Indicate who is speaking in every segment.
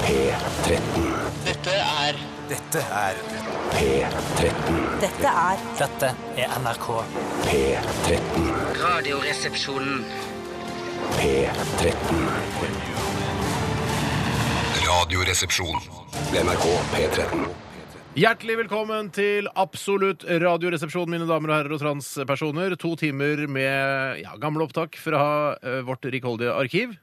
Speaker 1: P13.
Speaker 2: Dette er
Speaker 3: Dette er
Speaker 1: P13.
Speaker 4: Dette er
Speaker 5: Dette er NRK.
Speaker 1: P13.
Speaker 2: Radioresepsjonen.
Speaker 1: P13.
Speaker 6: Radioresepsjon.
Speaker 1: NRK P13.
Speaker 7: Hjertelig velkommen til Absolutt radioresepsjon, mine damer og herrer og transpersoner. To timer med ja, gamle opptak fra eh, vårt rikholdige arkiv.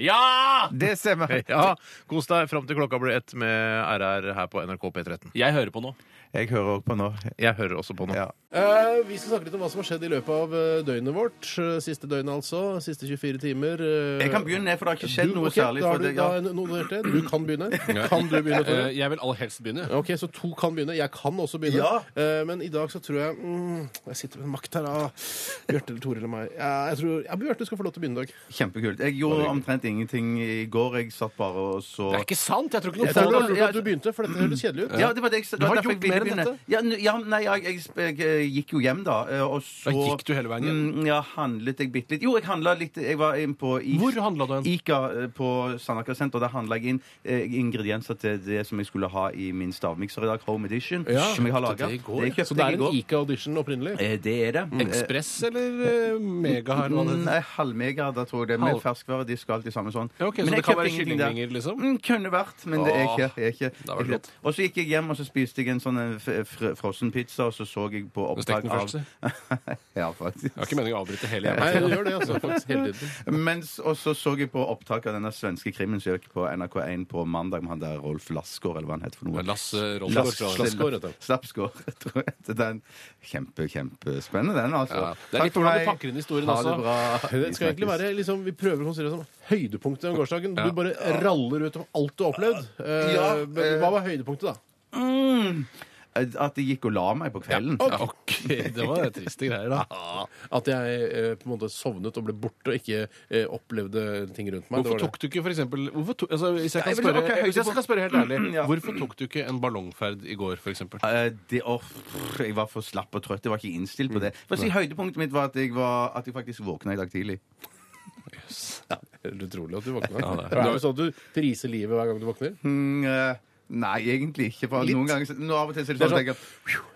Speaker 8: Ja!
Speaker 3: Det stemmer.
Speaker 7: Ja, Kos deg fram til klokka blir ett med RR her på NRK P13.
Speaker 8: Jeg hører på nå.
Speaker 3: Jeg hører òg på nå.
Speaker 7: Jeg hører også på nå.
Speaker 3: Ja.
Speaker 7: Eh, vi skal snakke litt om hva som har skjedd i løpet av eh, døgnet vårt. Eh, Siste døgnet, altså. Siste 24 timer. eh.
Speaker 3: Jeg kan begynne, for det har ikke skjedd
Speaker 7: Du-
Speaker 3: noe
Speaker 7: ok,
Speaker 3: særlig.
Speaker 7: Da
Speaker 3: For
Speaker 7: har du,
Speaker 3: det,
Speaker 7: da,
Speaker 3: ja.
Speaker 7: er no- notert det. du kan begynne. Kan du begynne? Tore?
Speaker 8: Eh, jeg vil aller helst begynne.
Speaker 7: Ok, Så to kan begynne. Jeg kan også begynne.
Speaker 3: Ja.
Speaker 7: Eh, men i dag så tror jeg mm, Jeg sitter med en makt her av Bjarte eller Tore eller meg. Ja, jeg tror, ja, Bjarte skal få lov til å begynne i dag.
Speaker 3: Kjempekult. Jeg gjorde omtrent ingenting i går. Jeg satt bare og så
Speaker 8: Det er ikke sant! Jeg tror ikke
Speaker 7: Jeg tror
Speaker 8: noe
Speaker 7: det
Speaker 8: på
Speaker 7: var
Speaker 8: det.
Speaker 7: lurt at du begynte, for dette høres kjedelig ut.
Speaker 3: ja, det var det jeg, det
Speaker 8: Du har
Speaker 3: var derfor jeg
Speaker 8: gjort
Speaker 3: ville
Speaker 8: mer enn
Speaker 3: begynne.
Speaker 8: dette.
Speaker 3: Ja, n- ja, nei, jeg, jeg, sp- jeg, eh, gikk jo hjem, da. eh, Og så
Speaker 8: Da gikk du hele veien hjem?
Speaker 3: Mm, ja, handlet jeg bitte litt. Jo, jeg handla litt. Jeg var inn på is.
Speaker 8: Hvor handla du hen?
Speaker 3: Ica eh, på Sandaker senter. Der handla jeg inn eh, ingredienser til det som jeg skulle ha i min stavmikser i dag, Home Edition,
Speaker 7: Ja,
Speaker 3: som jeg har
Speaker 8: kjøpte
Speaker 3: laga.
Speaker 8: det i går, ja.
Speaker 3: kjøpte
Speaker 7: Så det
Speaker 3: jeg
Speaker 7: er
Speaker 3: i
Speaker 7: en
Speaker 3: går.
Speaker 7: Ica-audition opprinnelig?
Speaker 3: Eh, Det er det. Eh,
Speaker 8: Ekspress eller eh, mega her? Hva det heter?
Speaker 3: Nei, halvmega, da tror jeg det. Med
Speaker 8: Halv-
Speaker 3: ferskvare, de skal alltid samme sånn.
Speaker 8: Ja, ok,
Speaker 3: Men jeg
Speaker 8: så det kan
Speaker 3: kjøpte
Speaker 8: være
Speaker 3: ingenting der.
Speaker 8: kyllingvinger, liksom?
Speaker 3: Mm, kunne vært, men det er ikke. Jeg er ikke,
Speaker 8: da var det
Speaker 3: jeg er
Speaker 8: godt.
Speaker 3: ikke. Og så gikk jeg hjem og så spiste jeg en sånn eh, f- fr frossen pizza, og så så jeg på
Speaker 8: Du
Speaker 3: opptak
Speaker 8: stekte den
Speaker 3: av
Speaker 8: først? Jeg
Speaker 3: Ja, faktisk.
Speaker 8: har ikke meningen å avbryte hele
Speaker 7: Nei,
Speaker 8: hjemmet.
Speaker 7: du gjør det, altså. Faktisk, hele tiden.
Speaker 3: Mens, og så så jeg på opptak av denne svenske krimmen som gikk på NRK1 på mandag med han der Rolf Lassgaard, eller hva han heter for noe.
Speaker 8: Lasse Rolf.
Speaker 3: Lass-
Speaker 7: Slappskår, heter han.
Speaker 3: Slappskår, tror jeg. heter Den. Kjempe, kjempespennende, den, altså.
Speaker 8: Ja, det er litt hvordan du pakker inn historien
Speaker 3: ha
Speaker 8: også.
Speaker 3: Det, bra.
Speaker 7: Det skal egentlig være liksom, Vi prøver å konsentrere oss om høydepunktet om gårsdagen. Du bare raller ut om alt du har opplevd. Eh,
Speaker 3: Ja,
Speaker 7: men hva var høydepunktet, da?
Speaker 3: Mm. At jeg gikk og la meg på kvelden.
Speaker 8: Ok, det var triste greier, da.
Speaker 7: At jeg eh, på en måte sovnet og ble borte og ikke eh, opplevde ting rundt meg. det
Speaker 8: Hvorfor
Speaker 7: var det.
Speaker 8: tok du ikke for eksempel, hvorfor to, altså, hvis, jeg kan
Speaker 3: Nei, men
Speaker 8: spørre,
Speaker 3: ok, høydepunkt.
Speaker 8: hvis jeg skal spørre helt ærlig,
Speaker 3: Ja.
Speaker 8: hvorfor tok du ikke en ballongferd i går, for eksempel?
Speaker 3: Eh, det, åh, pff, jeg var for slapp og trøtt. Jeg var ikke innstilt
Speaker 8: Mm.
Speaker 3: på det. For å si, høydepunktet mitt var at jeg, var, at jeg faktisk våkna i dag tidlig.
Speaker 7: Helt utrolig at du våkna.
Speaker 8: Ja, det
Speaker 7: det
Speaker 8: er-
Speaker 7: er. det sånn at du priser livet hver gang du våkner?
Speaker 3: Mm, eh, nei, egentlig ikke. For noen ganger, så- nå, av og til så er det
Speaker 7: Det er
Speaker 3: sånn at jeg,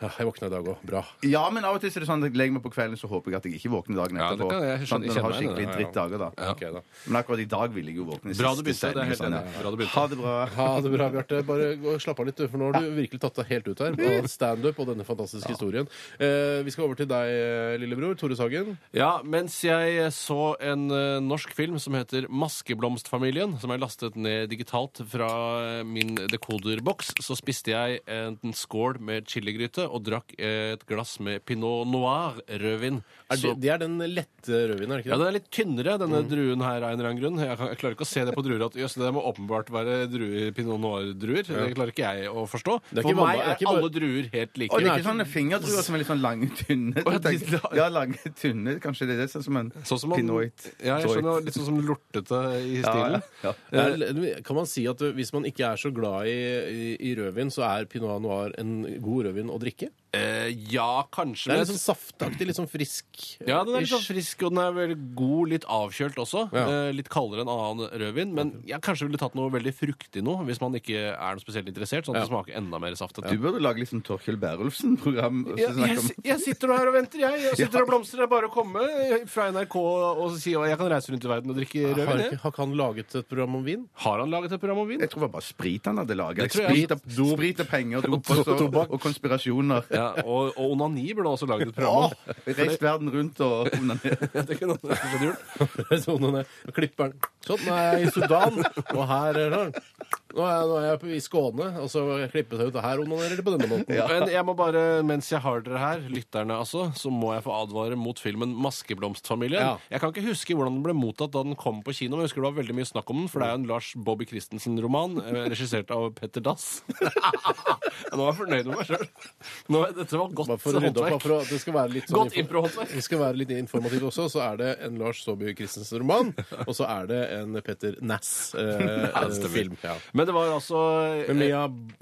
Speaker 7: Ja, jeg våkna i dag òg. Bra.
Speaker 3: ja, men av og til så er det sånn at jeg legger meg på kvelden, så håper jeg at jeg ikke våkner dagen
Speaker 8: Ja, det
Speaker 3: etterpå.
Speaker 8: kan jeg skjønne-
Speaker 3: sånn, at jeg har
Speaker 8: kjenner meg
Speaker 3: skikkelig
Speaker 8: igjen i det.
Speaker 3: drittdager, da.
Speaker 7: Ok, da.
Speaker 3: Men akkurat i dag ville jeg jo våkne.
Speaker 8: Bra
Speaker 3: siste
Speaker 8: du begynte, det er jeg helt
Speaker 3: sending, sånn,
Speaker 8: enig i.
Speaker 3: ja.
Speaker 8: Bra du begynte.
Speaker 3: Ha det bra.
Speaker 7: Ha det bra, Bjarte. Bare gå og slapp av litt, du, for nå har du virkelig tatt deg helt ut her på standup og denne fantastiske historien. Eh, vi skal over til deg, eh, lillebror. Tore Sagen.
Speaker 8: Ja, mens jeg så en eh, norsk film som heter Maskeblomstfamilien, som jeg lastet ned digitalt fra eh, min dekoderboks, så spiste jeg en skål med chiligryte og drakk et glass med pinot noir rødvin.
Speaker 7: Er det,
Speaker 8: Så-
Speaker 7: det er den lette rødvinen, er det
Speaker 8: ja,
Speaker 7: ikke det? Mm.
Speaker 8: Den er litt tynnere, denne druen her. av en eller annen grunn. Jeg, kan, jeg klarer ikke å se det på druer. at jøss, Det må åpenbart være druer, pinot noir-druer. Det klarer ikke jeg å forstå.
Speaker 7: er ikke
Speaker 8: For meg
Speaker 7: vanlig- det er
Speaker 8: er
Speaker 7: ikke bare-
Speaker 8: alle druer helt
Speaker 3: Og
Speaker 8: like.
Speaker 3: det er ikke sånne fingerdruer som er litt sånn lange, tynne.
Speaker 8: Å, ja, de-
Speaker 3: Tenk- Ja, lange, tynne. Kanskje det er det sånn som en
Speaker 8: Sånn som man-
Speaker 3: pinoit.
Speaker 8: Ja, jeg skjønner, Litt sånn som lortete i stilen. Eh,
Speaker 3: Ja, ja.
Speaker 7: Er- Kan man si at eh, hvis man ikke er så glad i, i, i rødvin, så er pinot noir en god rødvin å drikke?
Speaker 8: Eh, ja, kanskje.
Speaker 7: Det er
Speaker 8: men-
Speaker 7: litt sånn saftaktig, litt sånn frisk. eh,
Speaker 8: Ja, den er litt sånn
Speaker 7: ish.
Speaker 8: frisk, og den er veldig god, litt avkjølt også.
Speaker 7: Ja.
Speaker 8: Eh, litt kaldere enn annen rødvin. Men jeg kanskje ville tatt noe veldig fruktig nå, hvis man ikke er noe spesielt interessert. Sånn at det smaker enda mer saft.
Speaker 3: Du burde lage liksom Torkjell Berulfsen-program. og så
Speaker 8: Jeg,
Speaker 3: snakke
Speaker 8: jeg,
Speaker 3: om-
Speaker 8: si- jeg sitter nå her og venter, jeg. Jeg sitter og blomstrer. Det er bare å komme eh, fra NRK og si at jeg kan reise rundt i verden og
Speaker 7: Har,
Speaker 8: drikke rødvin.
Speaker 7: ikke,
Speaker 8: jeg.
Speaker 7: har ikke han laget et program om vin?
Speaker 8: Har han laget et program om vin?
Speaker 3: Jeg tror det var bare sprit han hadde laga.
Speaker 8: Det tror jeg.
Speaker 3: Sprit, og- sprit og penger dop, og, så- og konspirasjoner.
Speaker 8: Ja, og, og onani burde han også laget et program
Speaker 3: Åh,
Speaker 8: om.
Speaker 3: Reist verden rundt og onanert.
Speaker 8: Det kunne han sikkert gjort.
Speaker 7: sånn han er. Og klipper den. Sånn, nå er jeg i Sudan, og her er den. Nå er, jeg- nå er jeg på- i Skåne, og så klipper jeg ut, og her onanerer de på denne måten.
Speaker 8: Men jeg må bare, mens jeg har dere her, lytterne altså, så må jeg få advare mot filmen 'Maskeblomstfamilien'.
Speaker 7: Ja.
Speaker 8: Jeg kan ikke huske hvordan den ble mottatt da den kom på kino, men jeg husker det var veldig mye snakk om den, for det er jo en Lars Bobby Christensen-roman, eh, regissert av Petter Dass. Nå er jeg fornøyd med meg sjøl. Dette var godt
Speaker 7: Bare for å rydde opp, bare
Speaker 8: håndverk.
Speaker 7: for å, det skal være litt sånn
Speaker 8: Godt impro-håndverk.
Speaker 7: Det skal være litt informativt også. Så er det en Lars Saabye Christensen-roman, og så er det en Petter Næss-film.
Speaker 8: Ja, det stemmer.
Speaker 7: ja.
Speaker 8: Men det var altså
Speaker 7: eh, Men
Speaker 8: eh,
Speaker 7: Mia,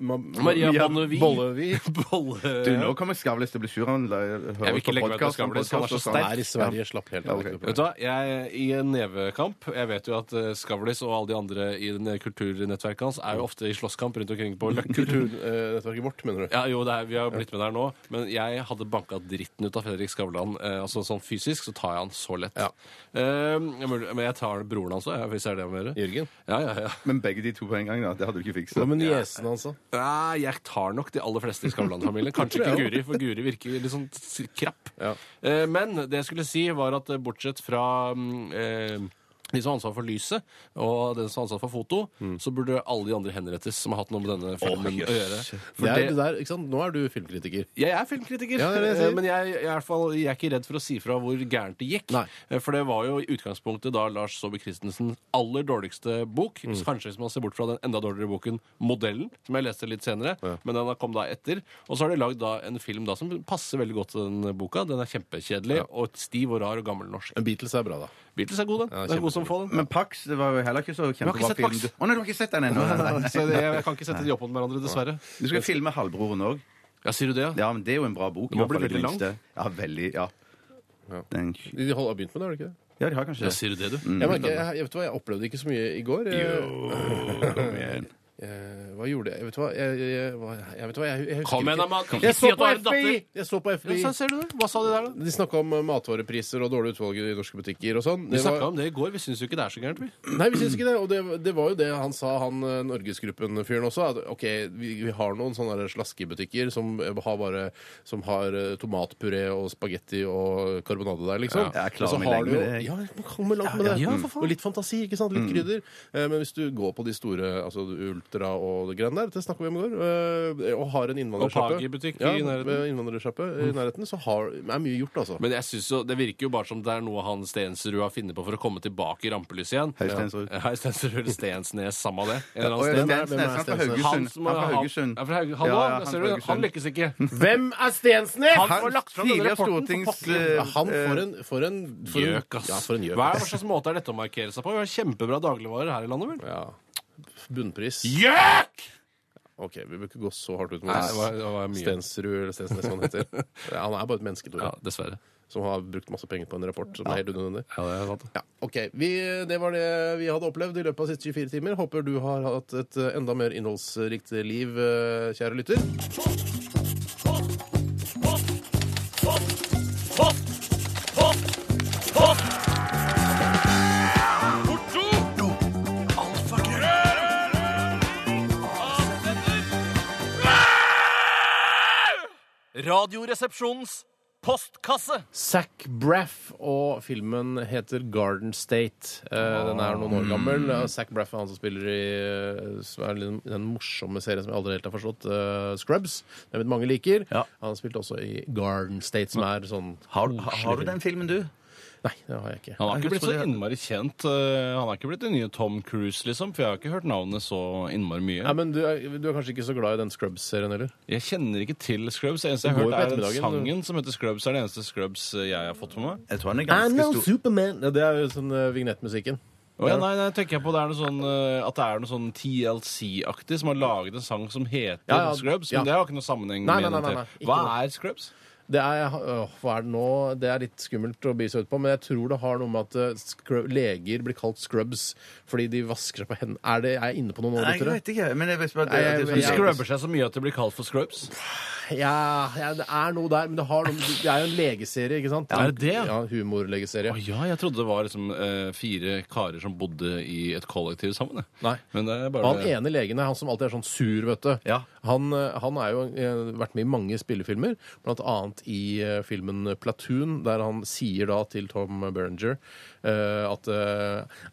Speaker 7: ma,
Speaker 8: Maria Bonnevie.
Speaker 7: Bollevie
Speaker 8: Bolle...
Speaker 3: Du, nå kommer Skavlis til å bli sur. Han hører
Speaker 8: eh. Jeg vil ikke
Speaker 3: på
Speaker 8: legge meg til
Speaker 3: podcasten,
Speaker 8: Skavlis, han er så
Speaker 3: podcasten,
Speaker 8: sterk.
Speaker 7: er i Sverige. Slapp helt av.
Speaker 3: Ja, ok.
Speaker 8: Vet du hva, jeg I en nevekamp Jeg vet jo at eh, Skavlis og alle de andre i den kulturnettverket hans er jo ofte i slåsskamp rundt omkring på Løkken.
Speaker 7: Kulturnettverket vårt, mener du?
Speaker 8: Ja, jo, det er, Vi har jo blitt med der nå, men jeg hadde banka dritten ut av Fredrik Skavlan. Eh, altså Sånn fysisk så tar jeg han så lett.
Speaker 7: Ja.
Speaker 8: Eh, mulig- men jeg tar broren hans òg, hvis det er det han vil gjøre.
Speaker 7: Jørgen?
Speaker 8: Ja, ja, ja.
Speaker 3: Men begge de to på en gang, da. Det hadde du ikke fiksa.
Speaker 7: Hva med niesen hans, da?
Speaker 8: Nei, jeg tar nok de aller fleste i Skavlan-familien. Kanskje ikke Guri, for Guri virker litt sånn s- krapp.
Speaker 7: Ja.
Speaker 8: Eh, Men det jeg skulle si, var at eh, bortsett fra mm, eh, de som har ansvar for lyset, og den som har ansvar for foto,
Speaker 7: Mm.
Speaker 8: så burde alle de andre henrettes som har hatt noe med denne filmen å gjøre. For
Speaker 7: Det er,
Speaker 8: det-
Speaker 7: det der, ikke sant? Nå er du filmkritiker.
Speaker 8: Jeg er filmkritiker,
Speaker 7: Ja, det er det jeg sier.
Speaker 8: eh, men jeg, jeg, er i hvert fall, jeg er ikke redd for å si fra hvor gærent det gikk.
Speaker 7: Nei.
Speaker 8: Eh, For det var jo i utgangspunktet da Lars Saabye Christensens aller dårligste bok.
Speaker 7: Mm.
Speaker 8: Så Kanskje hvis man ser bort fra den enda dårligere boken 'Modellen', som jeg leste litt senere. Men den kom da etter. Og så har de lagd da en film da som passer veldig godt til den boka. Den er kjempekjedelig og stiv og rar og gammelnorsk.
Speaker 7: Men Beatles er bra, da.
Speaker 8: Beatles er god, den.
Speaker 7: Ja,
Speaker 8: den er god som få, den.
Speaker 3: Men Pax det var jo heller ikke så
Speaker 8: har ikke
Speaker 3: kjempebra
Speaker 8: sett
Speaker 3: film.
Speaker 8: Pax.
Speaker 3: Du- Å nei, du har ikke sett den ennå? Nei, nei.
Speaker 8: Så jeg, jeg kan ikke sette de opp mot hverandre, dessverre.
Speaker 3: Du skal filme Halvbroren òg.
Speaker 8: Ja, Sier du det, ja?
Speaker 3: Ja, men det er jo en bra bok. i
Speaker 8: Den må
Speaker 3: hvert fall i
Speaker 8: bli
Speaker 3: det
Speaker 8: veldig
Speaker 3: lengste. Ja, veldig, ja. Den,
Speaker 7: De hold- har begynt med det, har de ikke det?
Speaker 3: ja, de har kanskje Mm.
Speaker 8: Ja,
Speaker 3: det.
Speaker 8: sier du det, du?
Speaker 7: Jeg, merker, jeg, jeg, vet du hva, jeg opplevde ikke så mye i går. Jeg,
Speaker 3: Kom igjen.
Speaker 7: jeg, hva gjorde jeg? Vet du hva? Jeg, jeg, jeg, hva- jeg, vet du hva? jeg, jeg husker
Speaker 8: Kom igjen, da,
Speaker 7: ikke.
Speaker 8: mann! Kan ikke
Speaker 7: Jeg
Speaker 8: si
Speaker 7: så
Speaker 8: at du
Speaker 7: på
Speaker 8: har en
Speaker 7: FBI!
Speaker 8: datter!
Speaker 7: Jeg så på
Speaker 8: Ja,
Speaker 7: FBI.
Speaker 8: så ser du det. Hva sa de der, da?
Speaker 7: De snakka om eh, matvarepriser og dårlig utvalg i norske butikker og sånn.
Speaker 8: Vi
Speaker 7: Det var-
Speaker 8: snakka om det i går. Vi syns jo ikke det er så gærent. vi.
Speaker 7: Nei, vi syns ikke det. Og det, det var jo det han sa, han eh, Norgesgruppen-fyren også. At OK, vi, vi har noen sånne der slaskebutikker som eh, har bare Som har eh, tomatpuré og spagetti og karbonade der, liksom.
Speaker 3: Ja, jeg klarer
Speaker 7: Og så
Speaker 3: meg
Speaker 7: har
Speaker 3: lenge
Speaker 7: du jo-
Speaker 3: med det.
Speaker 7: Ja, man kommer langt med det. Og litt fantasi, ikke sant? Litt krydder. Eh, Men hvis du går på de store, altså Ultra og det greiene der, det snakka vi om i går, eh, og har en innvandrersjappe
Speaker 8: Pagi-butikk i
Speaker 7: ja,
Speaker 8: nærheten. Mm.
Speaker 7: ved innvandrersjappe i nærheten, så har, er mye gjort, altså.
Speaker 8: Men jeg synes jo, det virker jo bare som det er noe han Stensrud har funnet på for å komme tilbake i rampelyset igjen.
Speaker 3: Hei, Stensrud.
Speaker 8: Ja. Hei, Stensrud eller Stensnes, samme det. En eller
Speaker 3: Å, ja,
Speaker 8: annen Sten.
Speaker 3: Stensnes, han er fra Haugesund.
Speaker 8: som-
Speaker 3: Han er fra Haugesund.
Speaker 8: er fra Haug- Han,
Speaker 3: Ja, ja,
Speaker 8: også, jeg
Speaker 3: han
Speaker 8: ser
Speaker 3: fra
Speaker 8: du, han
Speaker 3: Haugesund.
Speaker 8: lykkes ikke. Han
Speaker 7: Hvem Mm, er Stensnes?!
Speaker 8: som har lagt fram denne
Speaker 3: tidligere
Speaker 8: rapporten for
Speaker 3: stortings...
Speaker 8: pokker.
Speaker 3: eh,
Speaker 7: Ja, han får en, for en for en-
Speaker 8: Gjøk, ass.
Speaker 7: Ja, for en gjøk.
Speaker 8: Hva, er,
Speaker 7: ass.
Speaker 8: hva slags måte er dette å markere seg på? Vi har kjempebra dagligvarer her i landet, vel?
Speaker 7: Ja. Bunnpris.
Speaker 8: Gjøk!
Speaker 7: Ok, vi bør ikke gå så hardt ut med
Speaker 8: Nei, det var, det var mye.
Speaker 7: Stensrud eller Stensnes, hva han heter. Ja, Han er bare et menneske, Tore,
Speaker 8: Ja, dessverre.
Speaker 7: som har brukt masse penger på en rapport som er helt unødvendig.
Speaker 8: Ja, det er sant.
Speaker 7: Ja, ok. Vi, det var det vi hadde opplevd i løpet av de siste 24 timer. Håper du har hatt et eh, enda mer innholdsrikt liv, eh, kjære lytter.
Speaker 5: Radioresepsjonens postkasse.
Speaker 7: Zac Braff, og filmen heter Garden State. Eh, Den er noen år
Speaker 3: Mm.
Speaker 7: gammel. Eh, Zac Braff er han som spiller i eh, som er den- den morsomme serien som jeg aldri helt har forstått, eh, Scrubs. Den vet mange liker.
Speaker 3: Ja.
Speaker 7: Han spilte også i Garden State, som er sånn
Speaker 3: Har, har du den filmen, du?
Speaker 7: Nei, det har jeg ikke.
Speaker 5: Han har
Speaker 3: Jeg
Speaker 5: ikke blitt så
Speaker 3: trodde-
Speaker 5: innmari kjent. eh, Han er ikke blitt den nye Tom Cruise, liksom, for jeg har ikke hørt navnet så innmari
Speaker 7: Nei,
Speaker 5: mye.
Speaker 7: men du er, du er kanskje ikke så glad i den Scrubs-serien heller?
Speaker 5: Jeg kjenner ikke til Scrubs. Det eneste jeg har
Speaker 7: går på
Speaker 5: hørt, er den
Speaker 7: ettermiddagen, du.
Speaker 5: sangen som heter Scrubs. Det er den eneste Scrubs eh, jeg har fått med meg.
Speaker 3: Jeg tror han er ganske stor.
Speaker 7: Superman! Ja, det er jo sånn eh, vignettmusikken.
Speaker 5: Å, ja, nei, nei, tenker jeg på det er noe sånn, eh, at det er noe sånn TLC-aktig, som har laget en sang som heter
Speaker 7: Ja, ja,
Speaker 5: Scrubs.
Speaker 7: ja.
Speaker 5: Men det har ikke noe sammenheng
Speaker 7: Nei, nei,
Speaker 5: med
Speaker 7: nei, nei,
Speaker 5: den
Speaker 7: nei,
Speaker 5: til.
Speaker 7: ikke
Speaker 5: Hva er Scrubs?
Speaker 7: Det er, åh, hva er det nå? Det er litt skummelt å bli så ut på, men jeg tror det har noe med at eh, scrub, leger blir kalt scrubs fordi de vasker seg på hendene. Er, det, er jeg inne på noe nå,
Speaker 3: Nei, jeg
Speaker 7: lyttere?
Speaker 3: vet ikke. Men jeg vet bare
Speaker 7: Nei, jeg-
Speaker 3: det, det er
Speaker 7: jeg-
Speaker 3: sånn-
Speaker 5: Scrubber seg så mye at det blir kalt for Scrubs.
Speaker 7: Ja, ja, det er noe der, men det, har noe, det er jo en legeserie, ikke sant?
Speaker 5: Ja, er det det?
Speaker 7: Ja, humorlegeserie.
Speaker 5: Å ja, jeg trodde det var liksom eh, fire karer som bodde i et kollektiv sammen. jeg.
Speaker 7: Nei.
Speaker 5: Men det er
Speaker 7: Og
Speaker 5: bare
Speaker 7: Han ene legen er han som alltid er sånn sur, vet du.
Speaker 3: Ja.
Speaker 7: Han, eh, han er jo eh, vært med i mange spillefilmer, blant annet i eh, filmen Platoon, der han sier da til Tom Berenger eh, at eh,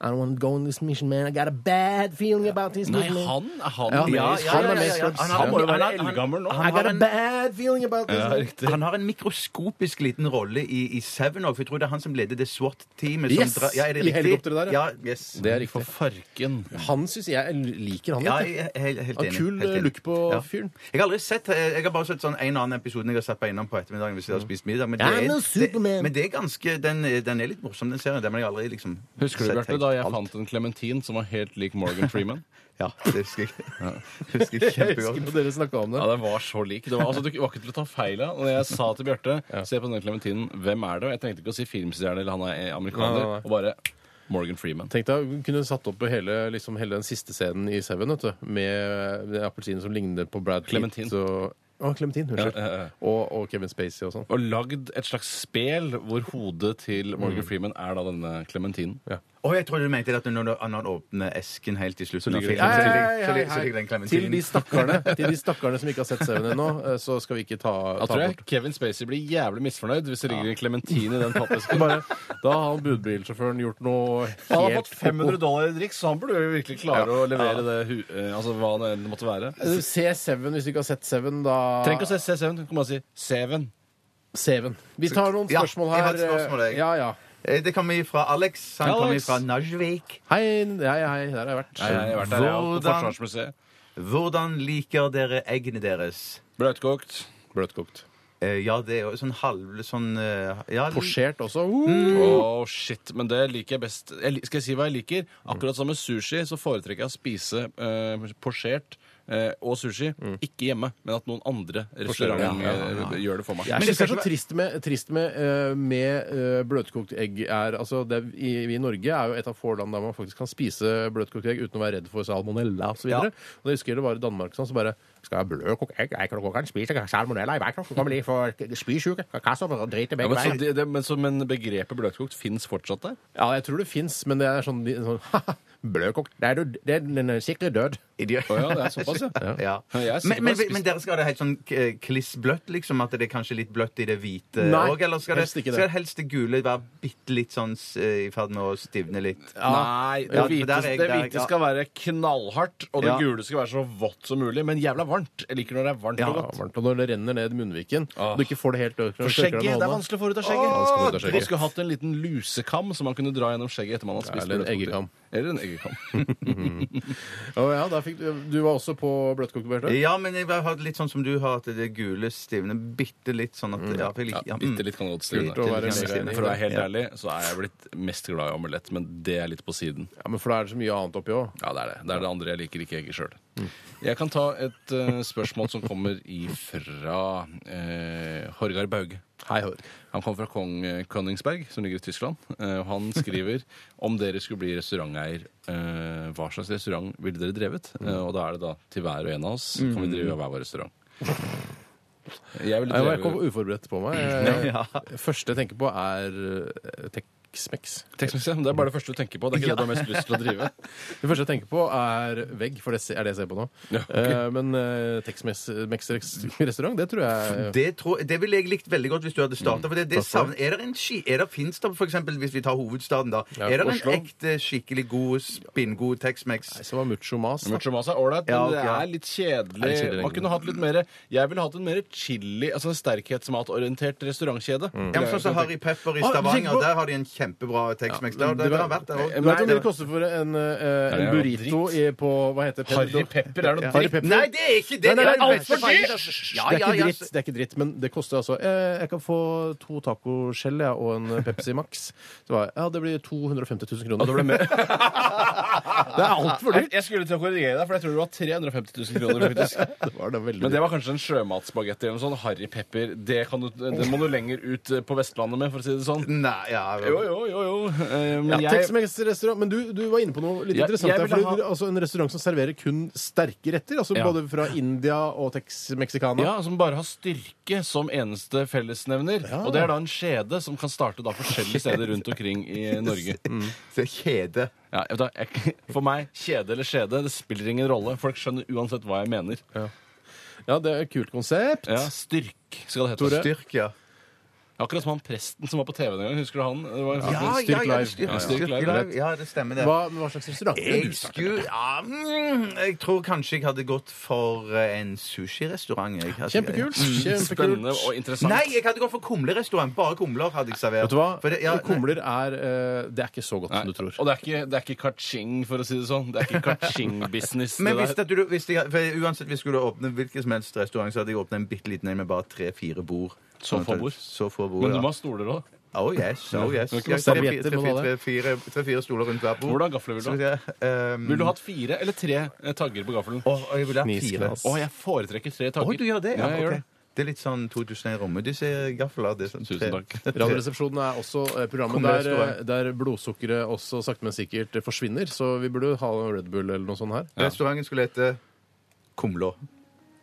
Speaker 7: I don't want to go on this mission, man. I got a bad feeling about this
Speaker 5: Nei,
Speaker 7: mission.
Speaker 5: han er han
Speaker 7: Ja,
Speaker 5: med i
Speaker 7: ja,
Speaker 5: Scrubs?
Speaker 7: ja, ja, ja, ja. Han har-
Speaker 5: Han må jo
Speaker 3: han
Speaker 5: være
Speaker 3: har- han-
Speaker 5: eldgammel nå.
Speaker 7: I
Speaker 3: han-
Speaker 7: got a bad feeling about this mission.
Speaker 3: Han har en mikroskopisk liten rolle i, i Seven òg, for jeg tror det er han som leder det SWAT-teamet.
Speaker 7: Yes!
Speaker 3: Som dra, ja, er det
Speaker 7: I
Speaker 3: riktig?
Speaker 7: helikopteret der, ja.
Speaker 3: ja. yes.
Speaker 7: Det er riktig.
Speaker 5: For farken.
Speaker 7: Han syns jeg liker han
Speaker 3: Ja,
Speaker 7: litt.
Speaker 3: jeg er helt, helt
Speaker 7: Han
Speaker 3: enig.
Speaker 7: har kul
Speaker 3: helt
Speaker 7: eh,
Speaker 3: enig.
Speaker 7: look på
Speaker 3: Ja.
Speaker 7: fyren.
Speaker 3: Jeg har aldri sett, jeg har bare sett sånn en annen episode når jeg har sett på innom på ettermiddagen hvis jeg har
Speaker 7: Mm.
Speaker 3: spist middag. Men det
Speaker 7: I'm a
Speaker 3: er, det,
Speaker 7: Superman.
Speaker 3: men det er ganske, den, er- den er litt morsom, den serien. Den har jeg aldri liksom
Speaker 5: Husker du,
Speaker 3: sett
Speaker 5: Bjarte,
Speaker 3: helt
Speaker 5: da jeg
Speaker 3: alt.
Speaker 5: fant en klementin som var helt lik Morgan Freeman?
Speaker 3: Ja, det husker jeg. Ja, husker jeg
Speaker 7: Jeg husker
Speaker 3: kjempegodt.
Speaker 7: på dere snakka om det.
Speaker 8: Ja, Den var så lik. Det var, altså, du var ikke til å ta feil av. Når jeg sa til Bjarte Se på denne Clementinen, hvem er det? Og jeg trengte ikke å si filmstjerne eller han er amerikaner.
Speaker 7: Nei, nei, nei.
Speaker 8: Og bare Morgan Freeman.
Speaker 7: Tenk deg, Hun kunne satt opp hele, liksom, hele den siste scenen i Seven vet du, med den appelsinen som ligner på Brad Pitt.
Speaker 8: Clementine.
Speaker 7: Og, å, Clementine, unnskyld.
Speaker 8: Ja, eh, ja, ja.
Speaker 7: Og, og Kevin Spacey og sånn.
Speaker 8: Og lagd et slags spel hvor hodet til Morgan
Speaker 7: Mm.
Speaker 8: Freeman er da denne Clementinen.
Speaker 3: Å, jeg trodde du mente at når han- når han åpner esken helt til slutten av
Speaker 8: ligger det-
Speaker 3: filmen,
Speaker 8: Hei,
Speaker 3: så
Speaker 8: hei,
Speaker 3: ligger- så ligger- så ligger den
Speaker 7: Til de
Speaker 3: klementinen.
Speaker 7: stakkarene til de stakkarene som ikke har sett Seven ennå, eh, så skal vi ikke ta,
Speaker 8: Da
Speaker 7: ta
Speaker 8: tror jeg
Speaker 7: bort.
Speaker 8: Kevin Spacey blir jævlig misfornøyd hvis det ligger en Clementine i den pappesken.
Speaker 7: Bare, da har han budbilsjåføren gjort noe
Speaker 8: Han har fått
Speaker 7: helt
Speaker 8: 500 dollar i drikk, så han burde jo virkelig klare å levere det hu eh, altså hva det enn måtte være.
Speaker 7: Eh, Se Seven hvis du ikke har sett Seven, da
Speaker 8: Trenger ikke å se C7, du kan bare si Seven.
Speaker 7: Seven. Vi tar noen
Speaker 3: Ja,
Speaker 7: spørsmål
Speaker 3: jeg
Speaker 7: her.
Speaker 3: har et spørsmål, jeg.
Speaker 7: Ja, ja.
Speaker 3: Eh, Det kommer fra Alex. Han kommer
Speaker 8: Alex.
Speaker 3: fra Najvik.
Speaker 7: Hei, hei, hei, der har jeg vært.
Speaker 8: Jeg har vært der, jeg, på
Speaker 3: Hvordan-
Speaker 8: Forsvarsmuseet.
Speaker 3: Hvordan liker dere eggene deres?
Speaker 8: Bløtkokt.
Speaker 7: Bløtkokt.
Speaker 3: Eh, ja, det er jo sånn halv sånn eh, ja,
Speaker 7: Posjert også.
Speaker 3: Mm.
Speaker 8: Åh, shit, men det liker jeg best. Jeg, li- skal jeg si hva jeg liker? Akkurat som med sushi, så foretrekker jeg å spise eh, posjert eh, og sushi.
Speaker 7: Mm.
Speaker 8: Ikke hjemme, men at noen andre restauranter eh, gjør det for meg.
Speaker 7: Jeg
Speaker 3: Men
Speaker 7: synes det
Speaker 3: det
Speaker 7: er så
Speaker 3: skal
Speaker 7: trist med, trist med, eh, med eh, bløtkokt egg er altså det, er- i, Vi i Norge er jo et av få land der man faktisk kan spise bløtkokt egg uten å være redd for salmonella osv. videre Og jeg husker det var i Danmark sånn, så bare Skal jeg ha bløtkokt egg? Jeg kan ikke spise salmonella i bakken. Kan bli for spysyke. Kasser og drite
Speaker 8: Ja,
Speaker 7: begge
Speaker 8: men, så,
Speaker 7: veier.
Speaker 8: det, det, men, så, men begrepet bløtkokt fins fortsatt der?
Speaker 7: Ja, jeg tror det fins, men det er sånn, de- sånn haha, Bløtkokt Det er, du- det er den eh, sikre død.
Speaker 3: Idiot.
Speaker 8: Å ja, det er såpass, ja.
Speaker 3: Ja.
Speaker 8: Ja, jeg er
Speaker 3: Men,
Speaker 8: sikker på
Speaker 3: men,
Speaker 8: jeg spiste-
Speaker 3: men dere skal ha det helt sånn eh, klissbløtt, liksom? At det er kanskje litt bløtt i det hvite
Speaker 7: Nei,
Speaker 3: òg? Eller skal det,
Speaker 7: helst ikke det.
Speaker 3: skal helst det gule være bitte litt sånn eh, i ferd med å stivne litt?
Speaker 8: Nei, det
Speaker 3: Ja, for
Speaker 8: hvite,
Speaker 3: der er jeg-
Speaker 8: det
Speaker 3: der-
Speaker 8: hvite
Speaker 3: ja.
Speaker 8: skal være knallhardt, og det
Speaker 3: Ja.
Speaker 8: gule skal være så vått som mulig, men jævla varmt. Jeg liker når det er varmt
Speaker 7: Ja,
Speaker 8: og godt.
Speaker 7: varmt, og når det renner ned munnviken, og du ikke får det helt økt
Speaker 8: For skjegget, det er vanskelig å få ut av skjegget.
Speaker 7: vanskelig å få ut av skjegget.
Speaker 8: Man skulle hatt en liten lusekam som man kunne dra gjennom skjegget etter man hadde spist.
Speaker 7: Eller en
Speaker 8: bløtkokt.
Speaker 7: eggekam.
Speaker 8: Eller en eggekam.
Speaker 7: Å ja, da fikk du, du var også på bløtkokt, Bjarte?
Speaker 3: Ja, men jeg har litt sånn som du har, at det gule stivner bitte litt sånn at ja, for jeg
Speaker 8: Ja,
Speaker 3: liker- ja, mm.
Speaker 8: bitte litt kan godt stivne.
Speaker 7: Kult å være
Speaker 8: Men
Speaker 7: legeregning.
Speaker 8: For å være helt
Speaker 3: Ja.
Speaker 8: ærlig, så er jeg blitt mest glad i omelett, men det er litt på siden.
Speaker 7: Ja, men For da er det så mye annet oppi òg.
Speaker 8: Ja, det er det. Det er det andre jeg liker, ikke egget sjøl. Jeg kan ta et eh, spørsmål som kommer ifra eh, Horgar Bauge.
Speaker 7: Hei, hør.
Speaker 8: Han kommer fra Kong eh, Königsberg, som ligger i Tyskland. Eh, og han skriver om dere skulle bli restauranteier, eh, hva slags restaurant ville dere drevet? Eh,
Speaker 7: Mm.
Speaker 8: og da er det da til hver og en av oss kan vi drive hver vår restaurant. Jeg ville
Speaker 7: Jeg kom
Speaker 8: drevet
Speaker 7: uforberedt på meg. Jeg- Det første jeg tenker på, er eh, Tex-Mex.
Speaker 8: Tekstmessig, men Det er bare det første du tenker på. Det er ikke det du har mest lyst til å drive.
Speaker 7: Det første jeg tenker på, er vegg, for det se- er det jeg ser på nå.
Speaker 8: Ja, ok.
Speaker 7: Eh, Men eh, Tex-Mex-restaurant, det tror jeg
Speaker 3: Det, tror, det ville jeg likt veldig godt hvis du hadde
Speaker 8: Mm.
Speaker 3: starta. For det, det savner, er det en ski, er det fins det, for eksempel, hvis vi tar hovedstaden, da? er det
Speaker 8: Oslo.
Speaker 3: en ekte, skikkelig god, spinngod Tex-Mex?
Speaker 7: Så var mucho mas. da.
Speaker 8: Mucho mas er ålreit,
Speaker 3: Ja,
Speaker 8: men det
Speaker 3: ok, ja.
Speaker 8: er litt kjedelig.
Speaker 7: litt kjedelig,
Speaker 8: Man kunne hatt litt mer Jeg ville hatt en mer chili, altså en sterkhetsmatorientert restaurantkjede.
Speaker 3: Ja, men sånn som Harry Pepper i
Speaker 7: Mm. Ah, tenk på-
Speaker 3: Stavanger, der har de en kjempebra Tex-Mex. Der- der-
Speaker 7: det var-
Speaker 3: der har vært der også.
Speaker 7: Du vet om det koster for en, eh,
Speaker 8: Nei, det
Speaker 7: en
Speaker 8: er
Speaker 7: burrito i, på Hva heter det?
Speaker 8: Harry Pepper er noe
Speaker 7: Harry
Speaker 8: dritt.
Speaker 7: Pepper.
Speaker 3: Nei, det er ikke det! Det
Speaker 7: Nei, nei,
Speaker 3: er
Speaker 7: nei,
Speaker 3: den
Speaker 7: alt for
Speaker 3: beste feilen.
Speaker 7: dyrt!
Speaker 3: Ja,
Speaker 7: det, er
Speaker 3: ja,
Speaker 7: ikke
Speaker 3: ja.
Speaker 7: dritt, det er ikke dritt, men det koster altså eh, Jeg kan få to tacoskjell jeg, og en Pepsi Max. Så var jeg, ja, det blir 250 000 kroner. det, er altfor dyrt!
Speaker 8: Jeg skulle til å korrigere deg, for jeg tror du har 350 000 kroner, faktisk.
Speaker 7: Det var da veldig
Speaker 8: Men det var kanskje en sjømatsbagetti eller noe sånt. Harry Pepper. Det, kan du, det må du lenger ut eh, på Vestlandet med, for å si det sånn.
Speaker 3: Nei, ja
Speaker 8: Jo, jo, jo, jo. Eh,
Speaker 7: Ja,
Speaker 8: Men jeg
Speaker 7: Tex-Mex-restaurant, men du, du var inne på noe litt
Speaker 8: Ja,
Speaker 7: interessant.
Speaker 8: jeg
Speaker 7: der,
Speaker 8: ville
Speaker 7: fordi du- altså En restaurant som serverer kun sterke retter, altså
Speaker 8: Ja.
Speaker 7: både fra India og Tex-Mexicana.
Speaker 8: ja, altså, Som bare har styrke som eneste fellesnevner. Og det er da en skjede som kan starte da forskjellige steder rundt omkring i Norge. Mm.
Speaker 3: Se kjede.
Speaker 8: Ja, jeg vet da, jeg, for meg, kjede eller skjede, det spiller ingen rolle. Folk skjønner uansett hva jeg mener.
Speaker 7: Ja, det er et kult konsept.
Speaker 8: Ja, Styrk skal det hete.
Speaker 7: Tore?
Speaker 3: Styrk, ja.
Speaker 8: Akkurat som han presten som var på TV en gang. Husker du han? Det var,
Speaker 3: Ja,
Speaker 7: Styrk
Speaker 3: ja, ja,
Speaker 7: live.
Speaker 3: styrk,
Speaker 8: Ja, styrk
Speaker 3: styrk
Speaker 8: live,
Speaker 3: live. Ja, det stemmer, det.
Speaker 7: Hva, hva slags restaurant?
Speaker 3: Jeg skulle ja, mm, Jeg tror kanskje jeg hadde gått for eh, en sushirestaurant. jeg. Altså,
Speaker 7: Kjempekult.
Speaker 8: Spennende
Speaker 7: Kjempekult.
Speaker 8: og
Speaker 3: jeg-
Speaker 8: interessant.
Speaker 3: Nei, jeg hadde gått for kumlerestaurant. Bare kumler hadde jeg servert.
Speaker 7: Vet du hva?
Speaker 3: For det- ja,
Speaker 7: Kumler er eh, Det er ikke så godt
Speaker 8: Nei,
Speaker 7: som du tror.
Speaker 8: Og det er ikke, det er ikke kaching, for å si det sånn. Det er ikke kaching-business.
Speaker 3: men hvis, at
Speaker 8: det der.
Speaker 3: du, hvis jeg, for uansett hvis jeg skulle åpne hvilken som helst restaurant, så hadde jeg åpnet en bitte liten en med bare tre-fire bord. Sånn
Speaker 8: Så få
Speaker 3: at-
Speaker 8: bord?
Speaker 3: Så få bord,
Speaker 8: Men du
Speaker 3: ja.
Speaker 8: må ha stoler òg.
Speaker 3: Oh yes, oh yes.
Speaker 9: Ok,
Speaker 3: Ja,
Speaker 9: servietter,
Speaker 3: tre- tre- tre-
Speaker 9: må du ha det?
Speaker 3: tre- fire- Tre-fire stoler rundt hver bord.
Speaker 5: Hvordan gafler vil
Speaker 3: Skal vi
Speaker 5: du ha?
Speaker 3: se, ehm,
Speaker 5: Vil du ha fire eller tre eh, tagger på gaffelen? Å,
Speaker 3: Åh, jeg vil ha fire.
Speaker 7: Knisglass.
Speaker 5: jeg foretrekker tre
Speaker 3: Åh,
Speaker 5: tagger.
Speaker 3: du gjør det?
Speaker 5: Ja, jeg
Speaker 3: ok.
Speaker 5: gjør det.
Speaker 3: Det er litt sånn 2001 Rommedysse-gafler.
Speaker 5: Tusen takk.
Speaker 7: Radioresepsjonen er også eh, programmet
Speaker 3: Kommer det
Speaker 7: der,
Speaker 3: restaurant?
Speaker 7: der blodsukkeret også sakte, men sikkert eh, forsvinner. Så vi burde ha en Red Bull eller noe sånt her.
Speaker 3: Restauranten skulle hete Kumlå.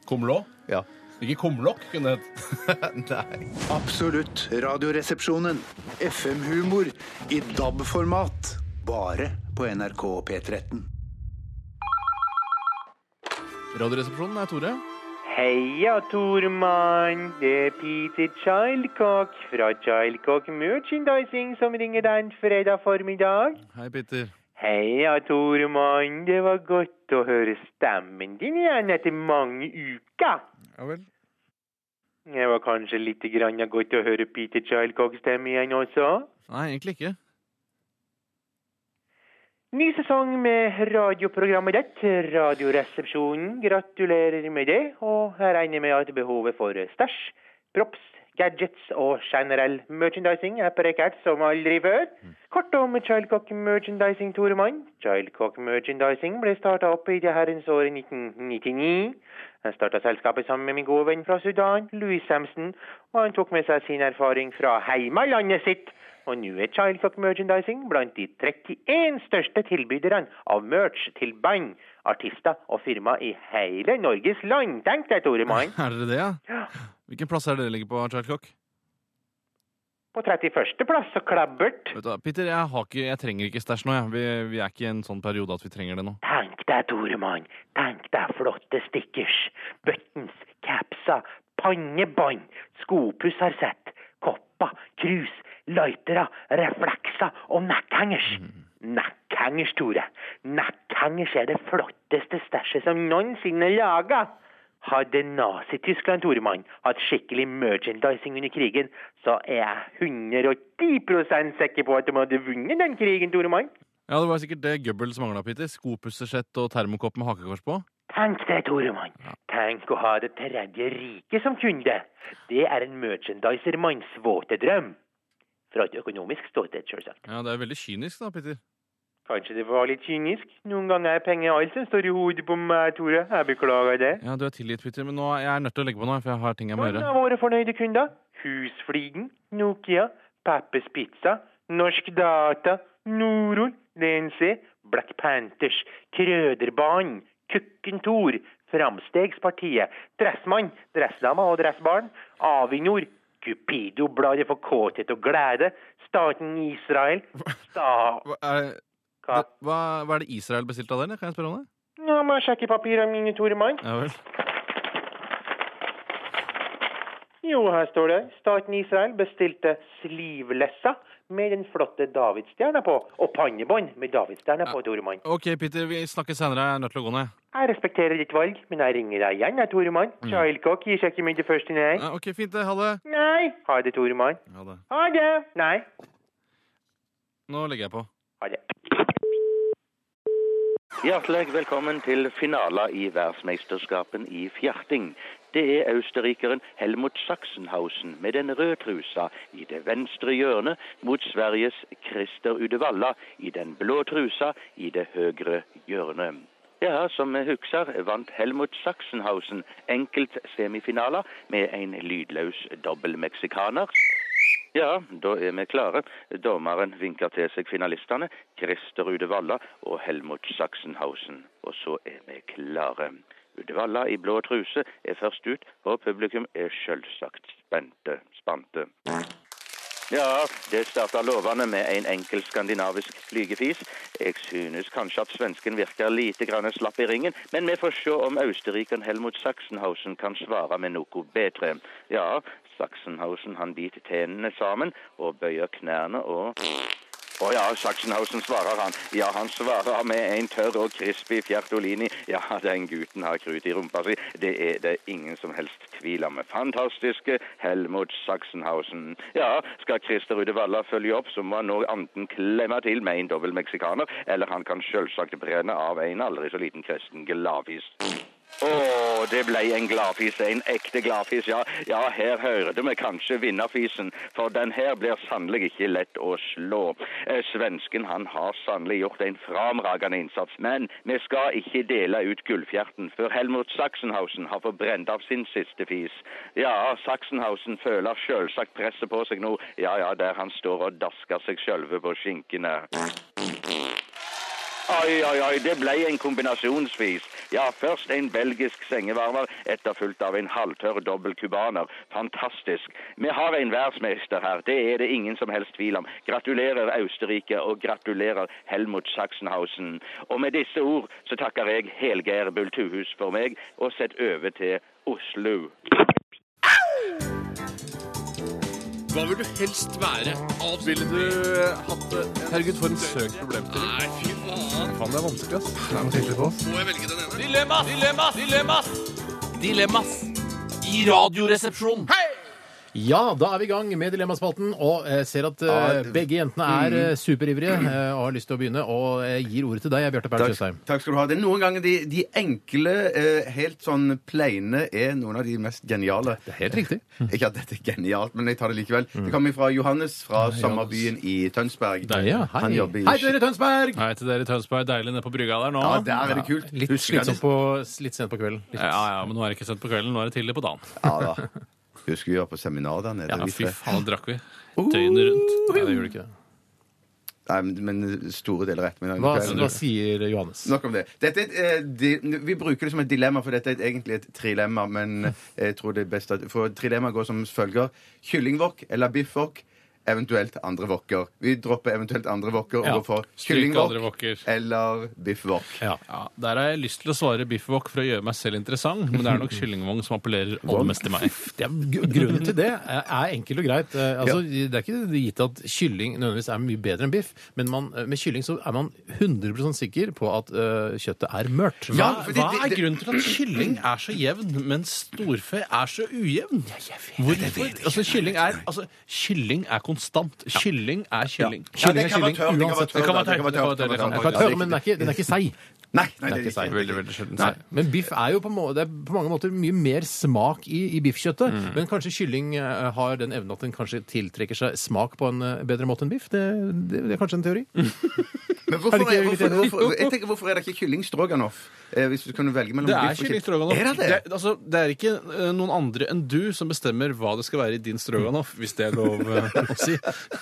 Speaker 5: Kumlå?
Speaker 3: Ja.
Speaker 5: Ikke kumlokk, kunne det hett.
Speaker 3: Nei.
Speaker 10: Absolutt radioresepsjonen. FM-humor i DAB-format. Bare på NRK P13.
Speaker 7: Radioresepsjonen er Tore.
Speaker 4: Heia, Tormann. Det er Peter Childcock fra Childcock Merchandising som ringer deg en fredag formiddag.
Speaker 7: Hei, Peter.
Speaker 4: Heia, Tormann. Det var godt å høre stemmen din igjen etter mange uker.
Speaker 7: Ja vel.
Speaker 4: Det var kanskje litt grann godt å høre Peter Childcock stemme igjen også.
Speaker 7: Nei, egentlig ikke.
Speaker 4: Ny sesong med radioprogrammet ditt, Radioresepsjonen. Gratulerer med det, og jeg regner med at behovet for stæsj, props, gadgets og generell merchandising er prekært som aldri før. Kort om Childcock Merchandising, Toremann. Childcock Merchandising ble starta opp i det herrens året 1999. Jeg starta selskapet sammen med min gode venn fra Sudan, Louis Samson, og han tok med seg sin erfaring fra heimalandet sitt. Og nå er Childcock Merchandising blant de 31 største tilbyderne av merch til band, artister og firma i hele Norges land. Tenk deg, Tore Mann.
Speaker 8: Er dere det, ja? Hvilken plass er det dere ligger på, Childcock?
Speaker 4: På 31. plass så klabbert.
Speaker 8: Vet du hva, Peter, jeg, har ikke, jeg trenger ikke stæsj nå. Jeg. Vi, vi er ikke i en sånn periode at vi trenger det nå.
Speaker 4: Tenk deg, Tore Mann. Tenk deg flotte stickers, buttons, capser, pannebånd, skopussersett, kopper, krus, lightere, reflekser og nekkhengers. Nekkhengers, Tore. Nekkhengers er det flotteste stæsjet som noensinne er laga. Hadde Nazi-Tyskland, Toremann, hatt skikkelig merchandising under krigen, så er jeg 110 sikker på at de hadde vunnet den krigen, Toremann.
Speaker 8: Ja, Det var sikkert det Goebbels mangla, Peter. Skopussersett og termokopp med hakekors på.
Speaker 4: Tenk det, Toremann. Tenk å ha Det tredje riket som kunde. Det er en merchandisermanns våte drøm. Fra et økonomisk ståsted, selvsagt.
Speaker 8: Ja, Det er veldig kynisk, da, Peter.
Speaker 4: Kanskje det var litt kynisk? Noen ganger er penger alt som står i hodet på meg, Tore. Jeg beklager det.
Speaker 8: Ja, Du er tilgitt, Peter, men nå, jeg er nødt til å legge på nå, for jeg har ting jeg må
Speaker 4: Noen
Speaker 8: gjøre.
Speaker 4: av våre fornøyde kunder. Husfligen, Nokia, Peppers Pizza, Norsk Data, Norol, DNC, Black Panthers, Krøderbanen, Kukkentor, Framstegspartiet, Dressmann, Dressdama og Dressbarn, Avinor, Cupido, bladet for kåthet og glede, staten Israel, sta...
Speaker 8: Hva er,
Speaker 4: Hva?
Speaker 8: hva, hva er det Israel bestilte av dere? Kan jeg spørre om det?
Speaker 4: Nå må jeg sjekke papirene mine, Tore Mann.
Speaker 8: Ja vel.
Speaker 4: Jo, her står det. Staten Israel bestilte sleevelessa med den flotte Davidstjerna på, og pannebånd med Davidstjerna på, Toremann.
Speaker 8: OK, Peter, vi snakkes senere. Jeg er nødt til å gå ned.
Speaker 4: Jeg respekterer ditt valg, men jeg ringer deg igjen, jeg, Toremann. Childcock gir seg ikke mye til første nei.
Speaker 8: Mm. Ja, OK, fint. det. Ha det.
Speaker 4: Nei! Ha det, Toremann.
Speaker 8: Ha det.
Speaker 4: Ha det! Nei.
Speaker 8: Nå legger jeg på.
Speaker 4: Ha det.
Speaker 11: Hjertelig velkommen til finaler i verdensmesterskapen i fjerting. Det er østerrikeren Helmut Sachsenhausen med den røde trusa i det venstre hjørnet mot Sveriges Christer Udevalla i den blå trusa i det høyre hjørnet. Ja, som jeg husker vant Helmut Sachsenhausen enkeltsemifinaler med en lydløs dobbelmeksikaner. Ja, da er vi klare. Dommeren vinker til seg finalistene, Christer Udevalla og Helmut Sachsenhausen. Og så er vi klare. Udevalla i blå truse er først ut, og publikum er selvsagt spente. Spante. Ja, det starta lovende med en enkel skandinavisk flygefis. Jeg synes kanskje at svensken virker lite grann slapp i ringen, men vi får se om østerrikeren Helmut Sachsenhausen kan svare med noe bedre. Ja, Sachsenhausen han biter tennene sammen og bøyer knærne og å ja, Sachsenhausen svarer han. Ja, han svarer med en tørr og crispy fjertolini. Ja, den gutten har krut i rumpa si. Det er det ingen som helst tvil om. Fantastiske Helmut Sachsenhausen. Ja, skal Christer Udevalla følge opp, så må han nå enten klemme til med en dobbel meksikaner, eller han kan selvsagt brenne av en aldri så liten kristen gladfis. Å, det ble en gladfis. En ekte gladfis, ja. Ja, her hørte vi kanskje vinnerfisen, for den her blir sannelig ikke lett å slå. Eh, Svensken han har sannelig gjort en framragende innsats, men vi skal ikke dele ut gullfjerten før Helmut Sachsenhausen har fått brent av sin siste fis. Ja, Sachsenhausen føler selvsagt presset på seg nå, ja ja, der han står og dasker seg sjølve på skinkene. Oi, oi, oi, det ble en kombinasjonsvis. Ja, først en belgisk sengevarmer, etterfulgt av en halvtørr dobbel cubaner. Fantastisk. Vi har en verdensmester her, det er det ingen som helst tvil om. Gratulerer Østerrike, og gratulerer Helmut Sachsenhausen. Og med disse ord så takker jeg Helgeir Bultuhus for meg, og sett over til Oslo.
Speaker 8: Hva vil du helst være? Ville du
Speaker 3: eh,
Speaker 8: hatt det?
Speaker 5: Herregud, for en søk problemstilling.
Speaker 8: Nei, fy faen.
Speaker 5: Faen, det er vanskelig, ass.
Speaker 8: Må jeg velge den ene? Dilemmas! Dilemmas! Dilemmas! Dilemmas i Radioresepsjonen.
Speaker 7: Ja, da er vi i gang med Dilemmaspalten, og jeg ser at eh, begge jentene er eh, superivrige eh, og har lyst til å begynne, og jeg gir ordet til deg, Bjarte Paul Tjøstheim.
Speaker 3: Takk, takk skal du ha. Det er noen ganger de, de enkle, eh, helt sånn pleine, er noen av de mest geniale. Det er
Speaker 7: helt riktig.
Speaker 3: Ikke at dette er genialt, men jeg tar det likevel. Det kommer fra Johannes fra sommerbyen i Tønsberg.
Speaker 8: Der, ja.
Speaker 7: Hei.
Speaker 3: Han jobber i
Speaker 7: Hei til dere, i Tønsberg!
Speaker 8: Hei til dere i Tønsberg. Deilig nede på brygga der nå.
Speaker 3: Ja, der er det kult.
Speaker 7: Litt
Speaker 3: Husker
Speaker 7: slitsomt
Speaker 3: vi,
Speaker 7: på, litt sent på kvelden. Litt.
Speaker 8: Ja, ja, men nå er det ikke sent på kvelden. Nå er det tidlig på dagen.
Speaker 3: ja, da. Husker vi var på seminar der nede.
Speaker 8: Ja,
Speaker 3: vi
Speaker 8: fy
Speaker 3: tre.
Speaker 8: faen, da drakk vi døgnet rundt.
Speaker 7: Nei, det gjorde du ikke.
Speaker 3: Nei, men, men store deler av ettermiddagen.
Speaker 7: Hva,
Speaker 3: kvelden.
Speaker 7: hva sier Johannes?
Speaker 3: Nok om det. Dette er et, eh, di, vi bruker det som et dilemma, for dette er et, egentlig et trilemma. Men eh, jeg tror det er best at For trilemma går som følger. Kyllingwok eller biffwok, eventuelt andre wokker. Vi dropper eventuelt andre wokker og
Speaker 8: Ja.
Speaker 3: går for
Speaker 8: Stryk andre
Speaker 3: kyllingwok
Speaker 8: wokker.
Speaker 3: eller biffwok.
Speaker 8: Ja. Der har jeg lyst til å svare biffwok for å gjøre meg selv interessant, men det er nok kyllingvogn som appellerer aller mest til meg.
Speaker 7: Det er, gr- grunnen til det er er enkelt og greit. Eh, Altså, Det er ikke gitt at kylling nødvendigvis er mye bedre enn biff, men man, eh, med kylling så er man 100 sikker på at eh, kjøttet er mørt.
Speaker 8: Hva,
Speaker 3: Ja, fordi
Speaker 8: hva
Speaker 3: det-
Speaker 8: er
Speaker 3: det-
Speaker 8: grunnen til at kylling er så jevn, mens storfe er så ujevn? Hvorfor? Altså, kylling er, altså, kylling er konstant. Kylling er kylling.
Speaker 3: Ja, det kan være tørt, det kan være tørt,
Speaker 8: Det kan være
Speaker 3: det kan være tørt, det kan være
Speaker 8: tørt,
Speaker 3: tørt.
Speaker 7: Jeg kan
Speaker 8: det
Speaker 7: høre, men den er ikke, den er ikke seig.
Speaker 3: Nei, nei, det
Speaker 7: Det
Speaker 3: er
Speaker 7: er ikke
Speaker 3: ikke
Speaker 7: seig.
Speaker 8: Veldig, veldig sjelden. Nei.
Speaker 7: Men biff er jo på, må, det er på mange måter mye mer smak i, i biffkjøttet.
Speaker 8: Mm.
Speaker 7: Men kanskje kylling eh, har den evnen at den kanskje tiltrekker seg smak på en eh, bedre måte enn biff? Det, det, det er kanskje en teori?
Speaker 8: Mm.
Speaker 3: Men
Speaker 7: Er det
Speaker 3: hvorfor,
Speaker 7: ikke
Speaker 3: er,
Speaker 7: egentlig
Speaker 3: hvorfor,
Speaker 7: det?
Speaker 3: hvorfor, jeg tenker, hvorfor er det ikke kylling stroganoff? Eh, hvis du kunne velge mellom
Speaker 8: Det er
Speaker 3: biff og
Speaker 8: kylling stroganoff.
Speaker 3: Er det det?
Speaker 8: er- altså, det er ikke eh, noen andre enn du som bestemmer hva det skal være i din stroganoff, hvis det er lov eh, å si.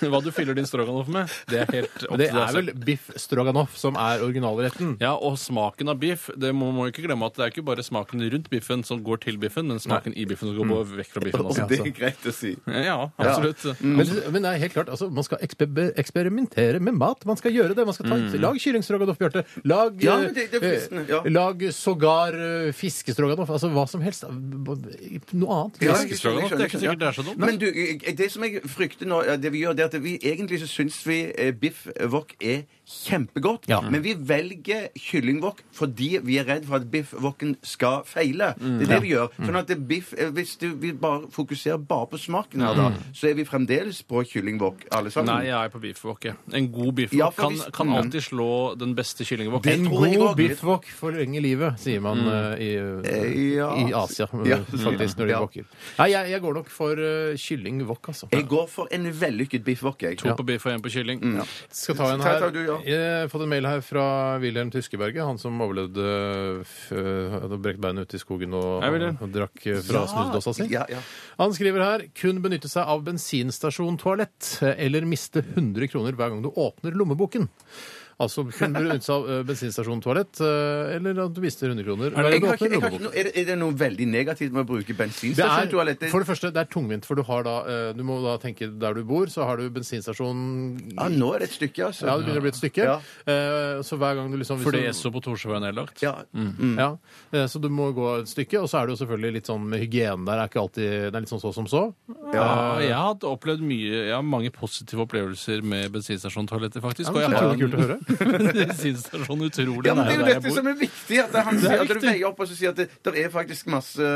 Speaker 8: Hva du fyller din stroganoff med, det er helt opp
Speaker 7: Det
Speaker 8: til deg
Speaker 7: er
Speaker 8: selv.
Speaker 7: vel biff stroganoff som er originalretten.
Speaker 8: Ja, og smaken av biff. Det må man ikke glemme at det er ikke bare smaken rundt biffen som går til biffen, men smaken i biffen som går på, vekk fra biffen også.
Speaker 3: Mm. Og det er greit å si. Mm.
Speaker 8: Ja, absolutt.
Speaker 7: Men, men det er helt klart, altså, man skal eksper eksperimentere med mat. Man skal gjøre det. Man skal ta, Lag kyllingstroganoff, Bjarte. Lag,
Speaker 3: Mm. Ja,
Speaker 7: eh,
Speaker 3: men det- det er fristende, ja.
Speaker 7: eh, lag sågar eh, fiskestroganoff. Altså hva som helst. Noe annet.
Speaker 3: Ja,
Speaker 8: Fiskestroganoff,
Speaker 3: jeg skjønner, jeg skjønner,
Speaker 8: det er ikke
Speaker 3: jeg skjønner.
Speaker 8: sikkert det er så dumt.
Speaker 3: Men du, jeg- det som jeg frykter nå, ja, det vi gjør, det er at vi egentlig så syns vi eh, biff wok er kjempegodt,
Speaker 7: Ja.
Speaker 3: men vi velger kyllingwok fordi vi er redd for at biff woken skal feile.
Speaker 7: Mm.
Speaker 3: Det er det vi gjør. Sånn at det biff, eh, hvis du, vi bare fokuserer bare på smaken her, da,
Speaker 7: Mm.
Speaker 3: så er vi fremdeles på kyllingwok, alle sammen.
Speaker 8: Nei, jeg er på biffwok. jeg. En god
Speaker 3: Ja,
Speaker 8: biffwok
Speaker 3: for
Speaker 8: kan,
Speaker 3: hvis-
Speaker 8: kan
Speaker 3: Mm.
Speaker 8: alltid slå den beste kyllingwok.
Speaker 3: Det
Speaker 7: En
Speaker 3: tror jeg
Speaker 7: god
Speaker 3: også.
Speaker 7: biffwok forlenger livet, sier man eh, i,
Speaker 3: Mm. Eh, ja.
Speaker 7: i Asia, eh,
Speaker 3: Ja.
Speaker 7: faktisk, når de
Speaker 3: Ja.
Speaker 7: wokker. Nei, jeg, jeg går nok for eh, kyllingwok, altså.
Speaker 3: Jeg går for en vellykket biff wok, jeg.
Speaker 8: To på biff og en på kylling.
Speaker 3: Mm.
Speaker 7: skal ta en
Speaker 3: Ta-
Speaker 7: her.
Speaker 3: ta du, ja.
Speaker 7: Jeg har fått en mail her fra Wilhelm Tyskeberget, han som overlevde f- hadde brekt beinet ute i skogen og,
Speaker 8: Hei, Wilhelm.
Speaker 7: og drakk fra snusdåsa si.
Speaker 3: Ja, ja.
Speaker 7: Han skriver her kun benytte seg av bensinstasjontoalett eller miste 100 kroner hver gang du åpner lommeboken. Altså kun benytte seg av eh, bensinstasjontoalett eh, eller at du mister 100 kroner hver
Speaker 3: Jeg
Speaker 7: gang du
Speaker 3: har ikke,
Speaker 7: åpner
Speaker 3: jeg har ikke
Speaker 7: lommeboken.
Speaker 3: noe, er, det, er det noe veldig negativt med å bruke
Speaker 7: Det er,
Speaker 3: bensinstasjonstoalett?
Speaker 7: for det første, det er tungvint, for du, har da, eh, du må da tenke der du bor, så har du bensinstasjonen
Speaker 3: Ja, nå er det et stykke, altså.
Speaker 7: ja, det begynner å bli et stykke.
Speaker 3: Ja.
Speaker 7: Eh, Så hver gang du liksom hvis
Speaker 8: Fordi
Speaker 7: du-
Speaker 8: Esso på Torsjøen er nedlagt.
Speaker 3: Ja. Mm.
Speaker 7: ja. Eh, Så du må gå et stykke. Og så er det jo selvfølgelig litt sånn med hygiene der. Er ikke alltid, det er litt sånn så som så.
Speaker 8: Ah, Ja, Eh, jeg har opplevd mye, jeg har mange positive opplevelser med bensinstasjontoaletter, faktisk.
Speaker 7: Ja, men så
Speaker 8: jeg har
Speaker 7: utrolig kult å høre.
Speaker 8: det syns det er sånn utrolig
Speaker 3: Ja, men Det er jo
Speaker 8: nær der
Speaker 3: dette
Speaker 8: jeg
Speaker 3: som
Speaker 8: bor.
Speaker 3: er viktig, at, han, sier- at du
Speaker 8: viktig.
Speaker 3: veier opp og så sier at det, der er faktisk masse,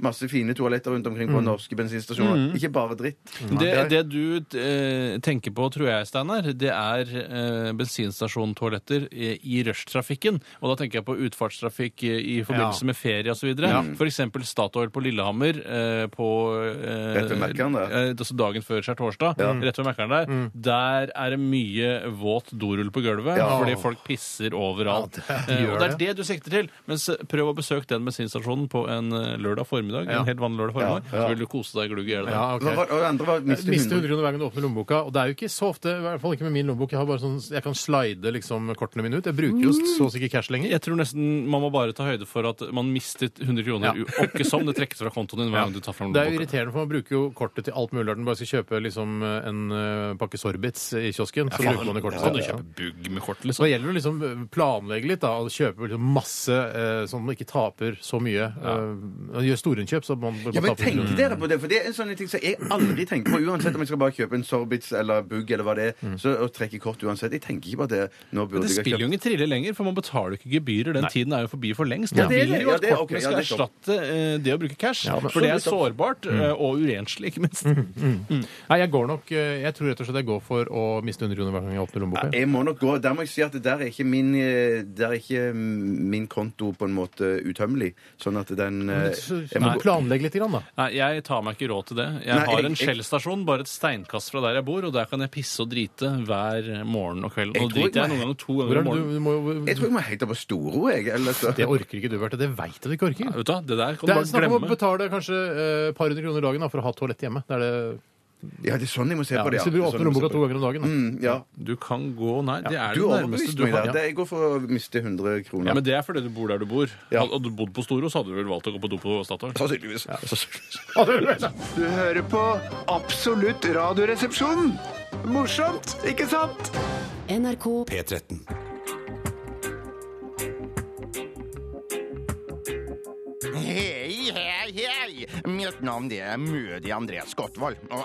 Speaker 3: masse fine toaletter rundt omkring på norske bensinstasjoner. Ikke bare dritt.
Speaker 8: Mm. Det,
Speaker 3: Ja.
Speaker 8: det du eh, tenker på, tror jeg, Steinar, det er eh, bensinstasjontoaletter i, i rushtrafikken. Og da tenker jeg på utfartstrafikk i, i forbindelse
Speaker 9: Ja.
Speaker 8: med ferie osv. Ja.
Speaker 3: Mm.
Speaker 8: F.eks. Statoil på Lillehammer eh, på eh,
Speaker 3: Rett ved Mækkern, det.
Speaker 8: eh, altså dagen før skjærtorsdag. Rett ved Mækkern der. Der er det mye våt dorull på gulvet
Speaker 3: Ja.
Speaker 8: fordi folk pisser overalt. Eh, og det er det du sikter til. Mens prøv å besøke den bensinstasjonen på en eh, lørdag formiddag. En helt vanlig lørdag formiddag. Så vil du kose deg glugg i hjel. der.
Speaker 9: Ja, ok.
Speaker 3: Hva var- Og det andre var miste
Speaker 9: Miste 100
Speaker 3: 100.
Speaker 9: kroner hver gang du åpner lommeboka. Og det er jo ikke så ofte, i hvert fall ikke med min lommebok. Jeg, har bare sånn, jeg kan slide liksom kortene mine ut. Jeg bruker jo
Speaker 3: Mm.
Speaker 9: så sikkert cash lenger.
Speaker 8: Jeg tror nesten man må bare ta høyde for at man mistet 100 kroner.
Speaker 9: Ja.
Speaker 8: Ja. Ikke som det trekkes fra kontoen din hver gang du tar fram
Speaker 9: Det er jo
Speaker 8: lommeboka.
Speaker 9: irriterende, for man bruker jo kortet til alt mulig. Når man bare skal kjøpe liksom, en eh, pakke sorbits i kiosken, så bruker man det kortet.
Speaker 8: Kan du
Speaker 9: sitt.
Speaker 8: kjøpe bugg med kort,
Speaker 9: Så
Speaker 8: liksom?
Speaker 9: det gjelder å liksom planlegge litt da, og kjøpe liksom masse eh, sånn at man ikke taper så mye. Eh, gjør storinnkjøp, så man
Speaker 3: Ja, men
Speaker 9: taper
Speaker 3: tenk dere på det, for det er en sånn ting som jeg aldri tenker på. Uansett om jeg skal bare kjøpe en Sorbitz eller Bugg eller hva det er, så å trekke kort uansett. Jeg tenker ikke på det. Nå
Speaker 8: Mm. Men
Speaker 3: burde
Speaker 8: det
Speaker 3: jeg
Speaker 8: spiller jo
Speaker 3: kjøpt
Speaker 8: ingen trille lenger, for man betaler jo ikke gebyrer. Den tiden er jo forbi for lengst.
Speaker 3: Ja,
Speaker 8: Man
Speaker 3: det er
Speaker 8: vil
Speaker 3: det.
Speaker 8: jo
Speaker 3: Ja,
Speaker 8: at
Speaker 3: det er- ok,
Speaker 8: kortene
Speaker 3: ja,
Speaker 8: skal
Speaker 3: det er sant.
Speaker 8: erstatte eh, det å bruke cash.
Speaker 9: men-
Speaker 8: for det er sårbart
Speaker 9: Mm.
Speaker 8: eh, og urenslig, ikke minst.
Speaker 9: Nei, jeg går nok eh, Jeg tror rett og slett jeg går for å miste 100 kroner hver gang jeg åpner lommeboka.
Speaker 3: Jeg må nok gå. Der må jeg si at det der er ikke min, eh, der er ikke min konto på en måte utømmelig. Sånn at den eh,
Speaker 9: Så-
Speaker 3: jeg
Speaker 9: Nei,
Speaker 3: må gå.
Speaker 9: Planlegg litt, grann, da.
Speaker 8: Nei, jeg tar meg ikke råd til det. Jeg
Speaker 3: Nei, jeg-
Speaker 8: har en
Speaker 3: jeg-
Speaker 8: Shell-stasjon bare et steinkast fra der jeg bor, og der kan jeg pisse og drite hver morgen og kveld.
Speaker 3: Jeg tror
Speaker 8: Nå
Speaker 3: ikke
Speaker 8: driter jeg
Speaker 3: meg-
Speaker 8: noen ganger to
Speaker 9: Hvor
Speaker 8: ganger
Speaker 9: er
Speaker 8: om
Speaker 9: det,
Speaker 8: morgenen.
Speaker 9: du, du må, jo-
Speaker 3: Jeg tror jeg må helt opp på Storo, jeg. Ellers så
Speaker 9: det orker ikke du, Bjarte. Det veit jeg du ikke orker.
Speaker 8: Ja, Vet du, hva, det der kan
Speaker 9: Det
Speaker 8: du
Speaker 9: er
Speaker 8: bare
Speaker 9: snakk om å
Speaker 8: glemme.
Speaker 9: betale kanskje eh, et par hundre kroner dagen da, for å ha toalett hjemme. Det er det,
Speaker 3: Ja, det er sånn jeg må se
Speaker 9: ja,
Speaker 3: på det.
Speaker 9: hvis du
Speaker 3: Det er
Speaker 9: åpner
Speaker 3: sånn jeg må se
Speaker 9: lommeboka
Speaker 3: på
Speaker 9: to ganger om dagen. Da.
Speaker 3: det. Mm, ja.
Speaker 8: Du kan gå Nei, det er
Speaker 3: Du
Speaker 8: det nærmeste
Speaker 3: overbeviste
Speaker 8: du
Speaker 3: meg
Speaker 8: kan.
Speaker 3: der. Det- Jeg går for å miste 100 kroner.
Speaker 8: Ja, men Det er fordi du bor der du bor.
Speaker 3: Ja.
Speaker 8: Hadde du bodd på Storo, så hadde du vel valgt å gå på do på Statoil.
Speaker 12: Sannsynligvis.
Speaker 10: Du hører på Absolutt radioresepsjon. Morsomt, ikke sant?
Speaker 13: NRK
Speaker 1: P13.
Speaker 14: Hei, hei, hei! Mitt navn det er Mødi Andreas Skottvold, og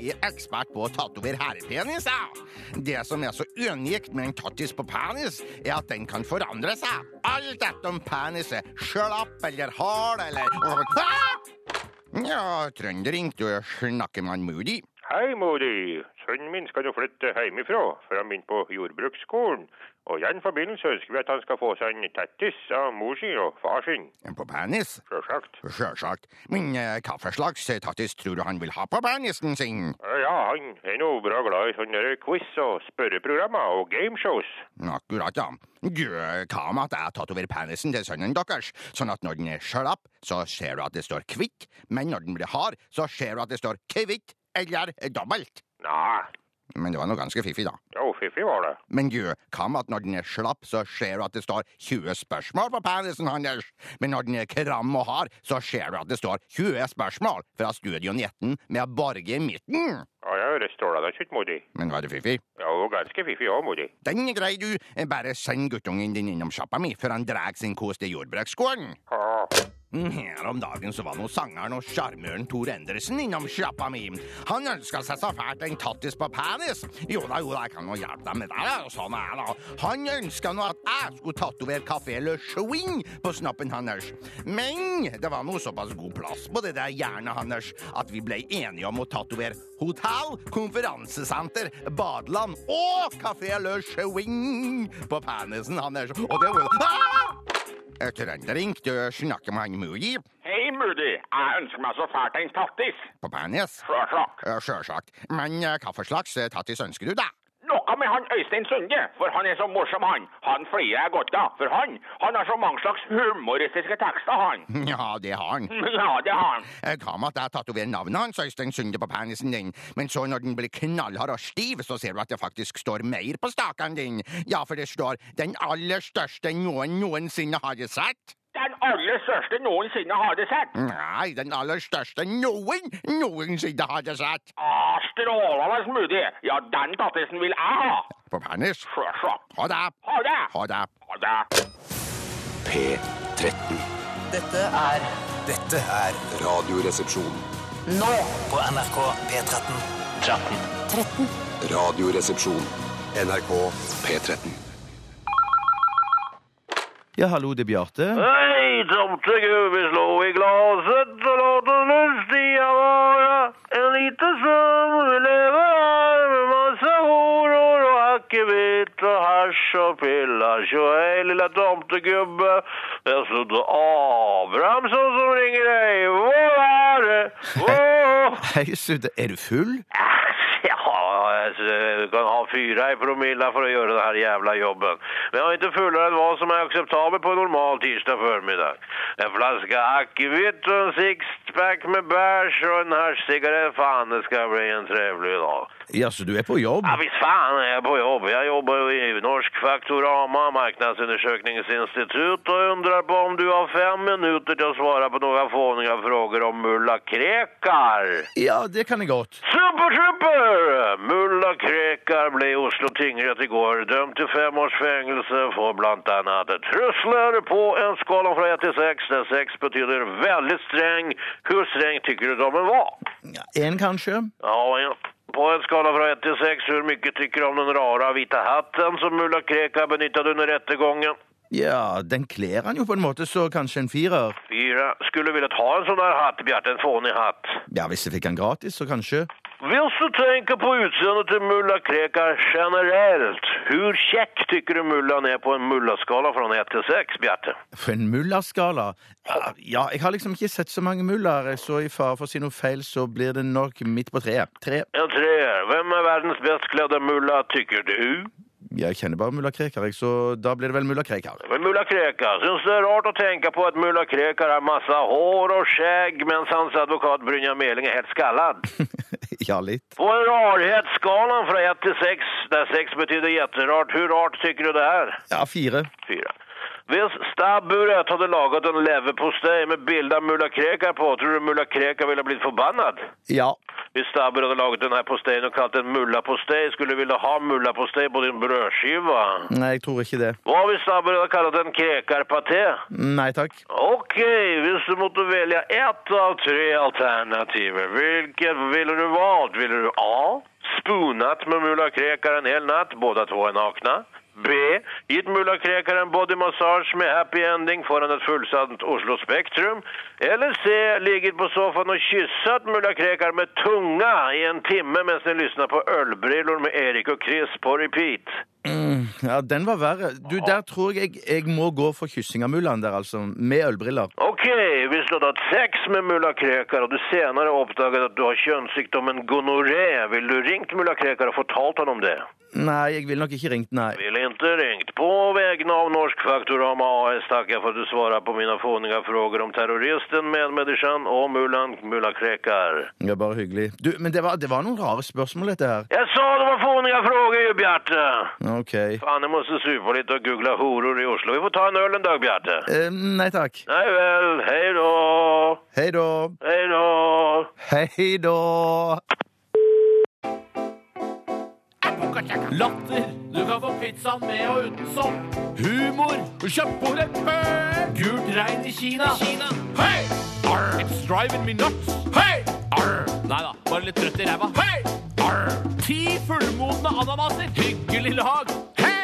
Speaker 14: jeg er ekspert på å tatovere herrepenis. jeg. Det som er så unikt med en tattis på penis, er at den kan forandre seg. Alt etter om penis er slapp eller hard eller Ja, trønder ringte og snakker med han Moody.
Speaker 15: Hei, Modi. Sønnen min skal nå flytte hjemmefra, for han begynte på jordbruksskolen. Og i den forbindelse ønsker vi at han skal få seg en tattis av mor sin og far sin.
Speaker 14: På penis?
Speaker 15: Sjølsagt.
Speaker 14: Sjølsagt. Men eh, hva for slags tattis tror du han vil ha på penisen sin?
Speaker 15: Eh, Ja, han er nå bra glad i sånne der quiz- og spørreprogrammer og gameshows.
Speaker 14: Akkurat, ja. Du, hva med at jeg tatoverer penisen til sønnen deres, sånn at når den er slapp, så ser du at det står kvitt, men når den blir hard, så ser du at det står kvitt eller dobbelt.
Speaker 15: Nei,
Speaker 14: Men det var noe ganske fiffig, da.
Speaker 15: jo, fiffig var det.
Speaker 14: Men du, hva med at når den er slapp, så ser du at det står 20 spørsmål på penisen hans, men når den er kram og hard, så ser du at det står 20 spørsmål fra Studio 19 med Borge i midten.
Speaker 15: Ja, jeg det står da ikke, Modi.
Speaker 14: Mm. Men var det fiffig?
Speaker 15: Ja, og ganske fiffig òg, Modi.
Speaker 14: Den er grei, du. Bare send guttungen din innom sjappa mi før han drar sin kos til jordbruksskolen.
Speaker 15: Ja.
Speaker 14: Mm, Her om dagen så var nå sangeren og sjarmøren Tor Endresen innom sjappa mi. Han ønska seg så fælt en tattis på penis. Jo da, jo da, jeg kan nå hjelpe deg med det. da, Sånn er det. Han ønska nå at jeg skulle tatovere Café Le Chouin på snoppen hans. Men det var nå såpass god plass på det der hjernet hans at vi ble enige om å tatovere hotell, konferansesenter, badeland og Café Le Chouin på penisen hans. Og det var ah! Trønderink, du snakker med han Mugi
Speaker 15: Hei, Modi. Jeg ønsker meg så fælt en tattis.
Speaker 14: på penis.
Speaker 15: Sjølsagt.
Speaker 14: Eh, Sjølsagt. Men eh, hva for slags eh, tattis ønsker du, da?
Speaker 15: Noe med han Øystein Sunde, for han er så morsom, han. Han flirer jeg godt av, for han Han har så mange slags humoristiske tekster, han.
Speaker 14: Ja, det har han.
Speaker 15: Ja, det har han.
Speaker 14: Eh, Hva med at jeg tatoverer navnet hans, Øystein Sunde, på penisen din, men så når den blir knallhard og stiv, så ser du at det faktisk står mer på staken din? Ja, for det står 'Den aller største noen noensinne har sett'.
Speaker 15: Den aller største noensinne har det sett.
Speaker 14: Nei, den aller største noen noensinne har sett.
Speaker 15: Ah, Strålende smoothie. Ja, den tattisen vil jeg ha.
Speaker 14: På penis.
Speaker 15: Sjølsagt.
Speaker 14: Ha det.
Speaker 15: Ha det.
Speaker 14: Ha det.
Speaker 15: Ha det.
Speaker 12: P13.
Speaker 13: Dette er
Speaker 1: Dette er Radioresepsjon.
Speaker 13: nå på NRK P13.
Speaker 1: 13. Radioresepsjon. NRK P13.
Speaker 16: Ja, hallo, det er Bjarte.
Speaker 17: Hei, tomtegubbe, slå i glaset og la den lystia vara. En liten søvn vi lever her med masse horor og akevitt og hasj og piller. Tjo hei, lille tomtegubbe. Det er Snodde Abrahamsson sånn som ringer deg. Hvor er det? Hvor?
Speaker 16: Hei, Sudde, er du full?
Speaker 17: Ja, alltså, du kan ha fyra i promilla för att göra den här jävla jobben. Men jag är inte fullare än vad som är acceptabelt på en normal tisdag förmiddag. En flaska akvavit och en sixpack med bärs och en haschcigarett. Fan, det ska bli en trevlig dag.
Speaker 16: Ja, så du er på jobb?
Speaker 17: Ja, visst fan är jag på jobb. Jag jobbar i Norsk Faktorama, marknadsundersökningsinstitut och undrar på om du har fem minuter till att svara på några fåniga frågor om mulla krekar.
Speaker 16: Ja, det kan jeg godt.
Speaker 17: Super, super! Mulla Krekar ble i Oslo tingrett i går dømt til fem års fengelse for blant annet trusler på en skala fra 1 til 6, der 6 betyr veldig streng. Hvor streng tykker du dommen var?
Speaker 16: En, kanskje?
Speaker 17: Ja, ja. På en skala fra 1 til 6, hvor mye tykker du om den rara hvite hatten som mulla Krekar benyttet under rettegången?
Speaker 16: Ja, den kler han jo på en måte, så kanskje en firer.
Speaker 17: Fyra. Skulle villet ha en sånn der hatt, Bjarte, en fånig hatt.
Speaker 16: Ja, hvis jeg fikk han gratis, så kanskje.
Speaker 17: Hvis du tenker på utseendet til mulla Krekar generelt, hvor kjekk tykker du mullaen er på en mullaskala fra 1 til 6, Bjarte?
Speaker 16: For en mullaskala? Ja, jeg har liksom ikke sett så mange mullaer, så i fare for å si noe feil, så blir det nok midt på treet. Tre.
Speaker 17: En treer. Hvem er verdens best kledde mulla, tykker du?
Speaker 16: Jeg kjenner bare mulla Krekar, jeg, så da blir det vel mulla Krekar.
Speaker 17: Men Mulla Krekar, syns det er rart å tenke på at mulla Krekar har masse hår og skjegg, mens hans advokat Brynja Meling er helt skallad?
Speaker 16: Ja, litt.
Speaker 17: På rarhetsskalaen fra 1 til 6, der 6 betyr jätterart, hvor rart tykker du det er?
Speaker 16: Ja, fire.
Speaker 17: Fyra. Hvis stabburet hadde laget en leverpostei med bilde av mulla Krekar på, tror du mulla Krekar ville blitt forbannet?
Speaker 16: Ja.
Speaker 17: Hvis stabburet hadde laget denne posteien og kalt den mullapostei, skulle du ville ha mullapostei på din brødskive?
Speaker 16: Nei, jeg tror ikke det.
Speaker 17: Hva hvis stabburet hadde kalt den krekarpaté?
Speaker 16: Nei takk.
Speaker 17: Ok, hvis du måtte velge ett av tre alternativer, hvilket ville du valgt? Ville du A. Spoonat med mulla Krekar en hel natt, båda två är nakna. B. Gitt mulla Krekar en bodymassage med happy ending foran et fullsatt Oslo Spektrum. Eller C. Ligget på sofaen og kysset mulla Krekar med tunga i en timme mens ni lyssnar på ølbrillor med Erik og Chris på repeat.
Speaker 16: Mm, ja, den var verre. Du, der tror jeg jeg må gå for kyssing av mullaen der, altså. Med ølbriller.
Speaker 17: Ok, hvis du hadde hatt sex med mulla Krekar, og du senere oppdaget at du har kjønnssykdommen gonoré, ville du ringt mulla Krekar og fortalt han om det?
Speaker 16: Nei, jeg ville nok ikke ringt, nei.
Speaker 17: Ville ikke ringt. På vegne av Norsk Faktorama AS takker jeg for at du svarer på mine fåninga frågor om terroristen, medmänniskan og mullaen mulla Krekar.
Speaker 16: Det er bare hyggelig. Du, men det var, det var noen rare spørsmål, dette her.
Speaker 17: Jeg sa det var fåninga frågor ju, Bjarte!
Speaker 16: OK.
Speaker 17: Fan, jeg måste supa litt og google horor i Oslo. Vi får ta en øl en dag, Bjarte.
Speaker 16: Eh, nei takk.
Speaker 17: Nei vel, hei da.
Speaker 16: Hei da.
Speaker 17: Hei da.
Speaker 16: Hei da.
Speaker 8: Latter. Du kan få pizzaen med og uten sopp. Humor. Kjøpt på leppet. Gult regn i Kina. Hei! Arr. It's driving me nuts. Hei! Arr. Nei da, bare litt trøtt i ræva. Hei! Arr. Ti fullmodne ananaser. Hyggelig lag. Hei!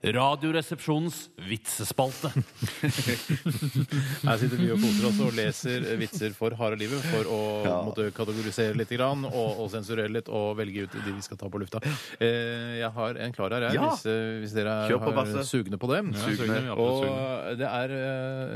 Speaker 8: Radioresepsjonens vitsespalte.
Speaker 7: Her sitter vi og koser oss og leser eh, vitser for harde livet for å måtte kategorisere litt grann, og, og sensurere litt og velge ut de vi skal ta på lufta. Eh, jeg har en klar her, jeg,
Speaker 16: Ja.
Speaker 7: hvis, eh, hvis dere
Speaker 16: Kjør på,
Speaker 7: er
Speaker 16: Basse.
Speaker 7: sugne på det.
Speaker 5: Ja, sugne, vi er absolutt
Speaker 7: Og det er eh,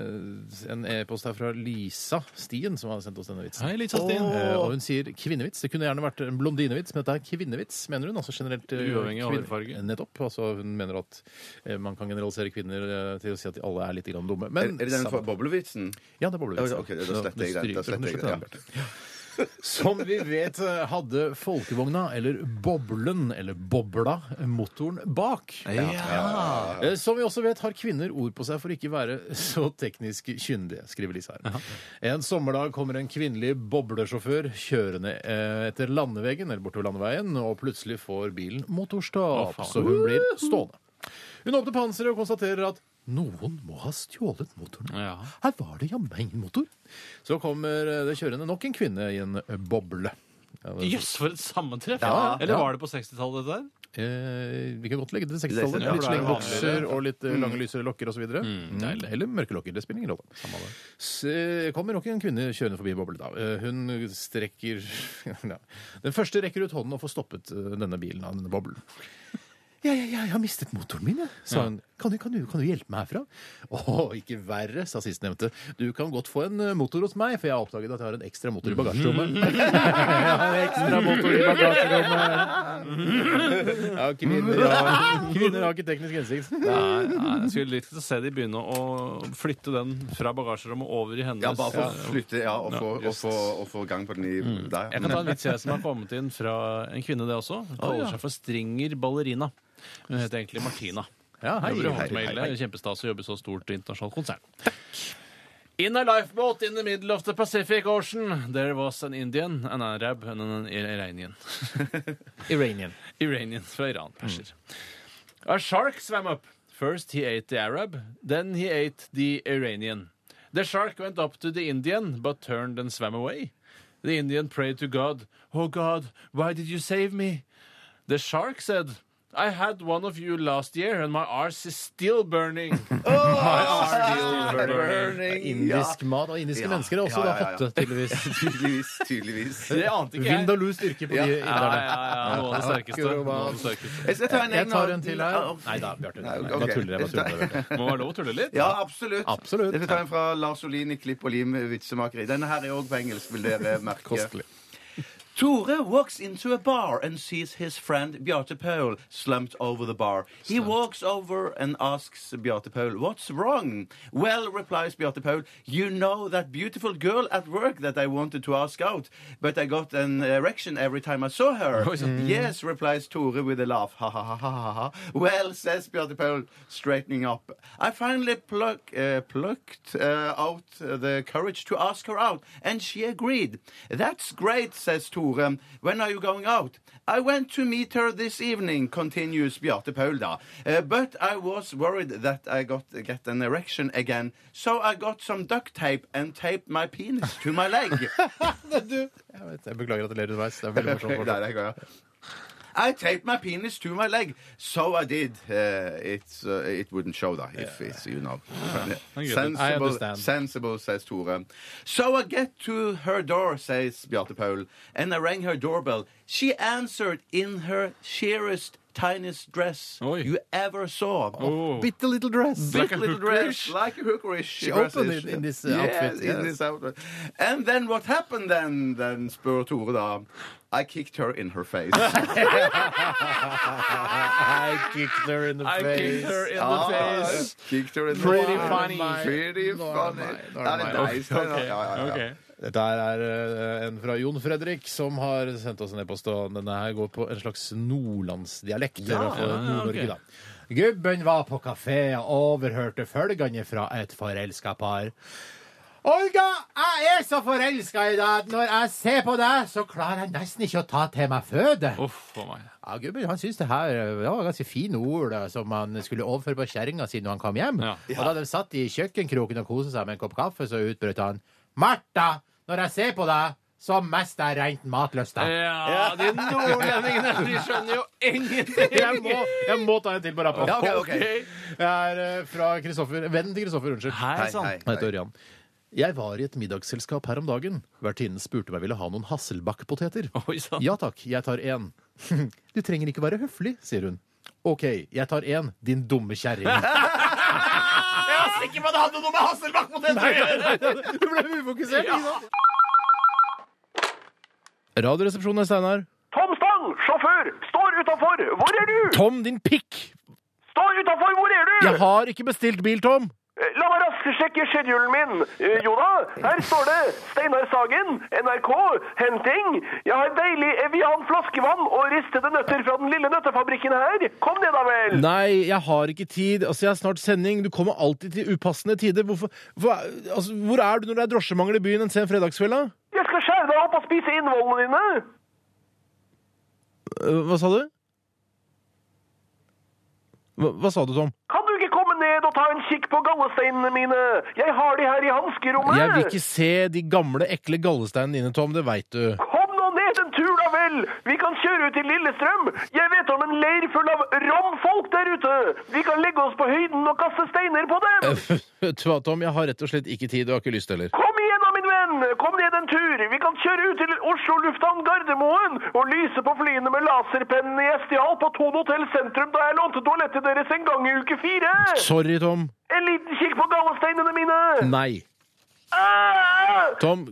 Speaker 7: en e-post her fra Lisa Stien som har sendt oss denne vitsen.
Speaker 5: Hei, Lisa Stien.
Speaker 7: Eh, og hun sier kvinnevits. Det kunne gjerne vært en blondinevits, men dette er kvinnevits, mener hun. Altså generelt eh,
Speaker 5: Uavhengig av
Speaker 7: kvinne-
Speaker 5: hårfarge.
Speaker 7: Nettopp. Altså, hun mener at eh, man kan generalisere kvinner eh, til å si at de alle er litt grann dumme. Men,
Speaker 3: Er- er det den for boblevitsen?
Speaker 7: Ja, det er boblevitsen.
Speaker 3: Ja, ok, da sletter jeg den, da
Speaker 7: Så
Speaker 3: sletter jeg
Speaker 7: du stryker-
Speaker 3: den,
Speaker 7: du sletter den, Bjarte. Som vi vet eh, hadde folkevogna, eller boblen, eller bobla, motoren bak.
Speaker 5: Ja. Ja.
Speaker 7: Eh, Som vi også vet, har kvinner ord på seg for ikke være så teknisk kyndige, skriver Lise her. En sommerdag kommer en kvinnelig boblersjåfør kjørende eh, etter landeveien, eller bortover landeveien, og plutselig får bilen motorstopp,
Speaker 5: faen.
Speaker 7: så hun blir stående. Hun åpner panseret og konstaterer at noen må ha stjålet motoren. Her var det jammen ingen motor. Så kommer eh, det kjørende nok en kvinne i en boble. Ja, det-
Speaker 8: Jøss, for et sammentreff!
Speaker 7: Ja, ja.
Speaker 8: Eller
Speaker 7: Ja.
Speaker 8: var det på 60-tallet, dette her?
Speaker 7: Eh, vi kan godt legge det til 60-tallet.
Speaker 9: Ja, for det
Speaker 7: litt
Speaker 9: er
Speaker 7: slengbukser
Speaker 9: vanligere.
Speaker 7: og litt eh,
Speaker 9: Mm.
Speaker 7: lange, lysere lokker osv. Mm. Eller, eller mørke lokker. Det spiller ingen rolle. Så kommer nok en kvinne kjørende forbi boblet. da. Eh, Hun strekker ja. Den første rekker ut hånden og får stoppet eh, denne bilen av denne boblen. Ja, ja, ja, jeg har mistet motoren min, jeg, sa
Speaker 18: Ja.
Speaker 7: hun. Kan du, kan, du, kan du hjelpe meg herfra? Å, ikke verre, sa sistnevnte. Du kan godt få en eh, motor hos meg, for jeg har oppdaget at jeg har en ekstra motor i
Speaker 8: Mhm.
Speaker 7: bagasjerommet. Jeg har en ekstra motor i bagasjerommet.
Speaker 8: Mhm.
Speaker 7: Ja, kvinner har, kvinner har ikke teknisk hensikt.
Speaker 8: Nei, nei, jeg skulle likt å se de begynne å flytte den fra bagasjerommet over i hennes.
Speaker 3: Ja, bare for å flytte ja, og,
Speaker 8: Ja,
Speaker 3: få, og,
Speaker 8: just.
Speaker 3: få, og få gang på den i der.
Speaker 8: Jeg kan ta en vits jeg som har kommet inn fra en kvinne, det også. Hun kaller
Speaker 3: ja.
Speaker 8: seg for Stringer Ballerina. Hun heter egentlig Martina.
Speaker 7: Ja, hei,
Speaker 8: Jobber i
Speaker 7: hei,
Speaker 8: Hotmail.
Speaker 7: hei, hei.
Speaker 8: Kjempestas å jobbe i så stort internasjonalt konsern. In a lifeboat in the middle of the Pacific Ocean, there was an Indian, an Arab and an Iranian.
Speaker 18: Iranian.
Speaker 8: Iranian fra Iran, perser. A shark swam up. First he ate the Arab, then he ate the Iranian. The shark went up to the Indian, but turned and swam away. The Indian prayed to God, Oh God, why did you save me? The shark said, I had one of you last year, and my arse is still burning. my arse is still burning.
Speaker 7: Indisk mat og indiske
Speaker 8: Ja.
Speaker 7: mennesker er også
Speaker 8: Ja, ja,
Speaker 7: da eh,
Speaker 8: ja.
Speaker 7: hotte, tydeligvis.
Speaker 3: tydeligvis. tydeligvis.
Speaker 8: Det ante ikke jeg.
Speaker 7: Vind og lus styrke på
Speaker 8: Ja.
Speaker 7: de
Speaker 8: Ja,
Speaker 7: inderne.
Speaker 8: ja, ja, noe av det sterkeste. Noe av det sterkeste. Jeg skal ta en-
Speaker 7: Jeg tar en til her.
Speaker 8: Nei da, Bjarte.
Speaker 3: Nei, ok.
Speaker 8: Bare tuller jeg, bare tuller jeg, Bjarte. Må være lov å tulle litt.
Speaker 3: Ja, absolutt.
Speaker 7: absolutt.
Speaker 3: Jeg skal ta en fra Lars Olin i Klipp og lim vitsemakeri. Denne her er òg på engelsk, vil dere merke.
Speaker 7: Kostelig.
Speaker 3: Tore walks into a bar and sees his friend Bjarte Paul slumped over the bar. He walks over and asks Bjarte Paul, What's wrong? Well, replies Bjarte Paul, You know that beautiful girl at work that I wanted to ask out, but I got an erection every time I saw her.
Speaker 10: Oi, sant.
Speaker 3: Yes, replies Tore with a laugh. Ha ha ha ha ha. ha. Well, says Bjarte Paul, straightening up. I finally pluck, uh, plucked uh, out the courage to ask her out, and she agreed. That's great, says Tore. When are you going out? I went to meet her this evening, continues Bjarte Paul da. Uh, but I was worried that I got get an erection again, so I got some duct tape and taped my penis to my leg.
Speaker 7: Jeg vet, jeg beklager at jeg ler underveis. Det er veldig morsomt.
Speaker 3: Der er jeg, ja. I taped my penis to my leg, so I did. Uh, it's, uh, it wouldn't show, da, if it's, you know. uh,
Speaker 10: I get it. I
Speaker 3: Sensible,
Speaker 10: understand.
Speaker 3: sensible, says Tore. So I get to her door, says Bjarte Paul, and I rang her doorbell. She answered in her sheerest, tiniest dress you ever saw.
Speaker 10: Oh.
Speaker 3: Bitte little dress.
Speaker 10: Like a
Speaker 3: Bitte little
Speaker 10: hookerish.
Speaker 3: dress. Like a hookerish.
Speaker 10: She opened
Speaker 3: dresses.
Speaker 10: it in this, uh,
Speaker 3: Yes,
Speaker 10: outfit,
Speaker 3: in
Speaker 10: yes.
Speaker 3: this outfit. And then what happened then, then spør Tore da. I kicked her in her face.
Speaker 7: I kicked her in the
Speaker 10: I
Speaker 3: face.
Speaker 10: kicked her in the
Speaker 3: Ah,
Speaker 10: face.
Speaker 3: Kicked her in
Speaker 10: Pretty
Speaker 3: the face.
Speaker 10: funny.
Speaker 3: Pretty funny. Er det nice? Ja,
Speaker 7: Ok,
Speaker 3: ja, ja.
Speaker 7: ok. Dette her er eh, en fra Jon Fredrik, som har sendt oss en e-post. og Denne her går på en slags nordlandsdialekt.
Speaker 10: Ja,
Speaker 7: eller fra
Speaker 10: ja, ja,
Speaker 7: Nord-Norge,
Speaker 10: ok.
Speaker 7: da. Gubben var på kafé og overhørte følgende fra et forelska par. Olga, jeg er så forelska i deg at når jeg ser på deg, så klarer jeg nesten ikke å ta til meg føde. Ja, Gubben han syntes det her eh, det var ganske fine ord eh, som han skulle overføre på kjerringa si når han kom hjem. Og da de satt i kjøkkenkroken og kosa seg med en kopp kaffe, så utbrøt han Martha, når jeg ser på deg, så mister jeg rent matlysta.
Speaker 8: Ja, de nordlendingene, de skjønner jo ingenting!
Speaker 7: Jeg må, jeg må ta en til på rappen.
Speaker 8: Ja, ok, ok.
Speaker 7: Jeg er eh, fra Kristoffer Vennen til Kristoffer, unnskyld.
Speaker 8: Hei, sann. Hei, hei,
Speaker 7: Jeg heter Ørjan. Jeg var i et middagsselskap her om dagen. Vertinnen spurte om jeg ville ha noen Hasselback-poteter. Ja takk, jeg tar én. Du trenger ikke være høflig, sier hun. OK, jeg tar én, din dumme kjerring.
Speaker 10: Jeg var sikker på at det hadde noe med Hasselbakk mot
Speaker 7: Nei, nei, nei, nei. Du ble ufokusert. ikke sant? Radioresepsjonen er Steinar.
Speaker 10: Tom Stang, sjåfør, står utafor. Hvor er du?
Speaker 7: Tom, din pikk!
Speaker 10: Står utafor, hvor er du?
Speaker 7: Jeg har ikke bestilt bil, Tom!
Speaker 10: Eh, La meg raskt sjekke schedulen min. Eh, Jo da, her står det Steinar Sagen, NRK, henting. Jeg har deilig Evian flaskevann og ristede nøtter fra den lille nøttefabrikken her. Kom ned, da vel.
Speaker 7: Nei, jeg har ikke tid. Altså, Jeg har snart sending. Du kommer alltid til upassende tider. Hvorfor, hva, altså, hvor er du når det er drosjemangel i byen en sen fredagskveld? da?
Speaker 10: Jeg skal skjære deg opp og spise innvollene dine.
Speaker 7: Eh, Hva sa du? Hva, hva sa du, Tom?
Speaker 10: Kan du ikke komme ned og ta en kikk på gallesteinene mine? Jeg har de her i hanskerommet.
Speaker 7: Jeg vil ikke se de gamle, ekle gallesteinene dine, Tom. Det veit du.
Speaker 10: Kom nå ned en tur, da vel! Vi kan kjøre kjøre ut til Lillestrøm. Jeg vet om en leir full av romfolk der ute. Vi kan legge oss på høyden og kaste steiner på dem.
Speaker 7: Eh, Vet du hva, Tom, jeg har rett og slett ikke tid, og har ikke lyst heller.
Speaker 10: Kom igjen da, min venn! Kom ned en tur! Vi kan kjøre ut til Oslo lufthavn Gardermoen og lyse på flyene med laserpennene jeg stjal på Thon Hotell Sentrum da jeg lånte toalettet deres en gang i uke fire!
Speaker 7: Sorry, Tom.
Speaker 10: En liten kikk på gallesteinene mine! Ah!
Speaker 7: Nei. Tom,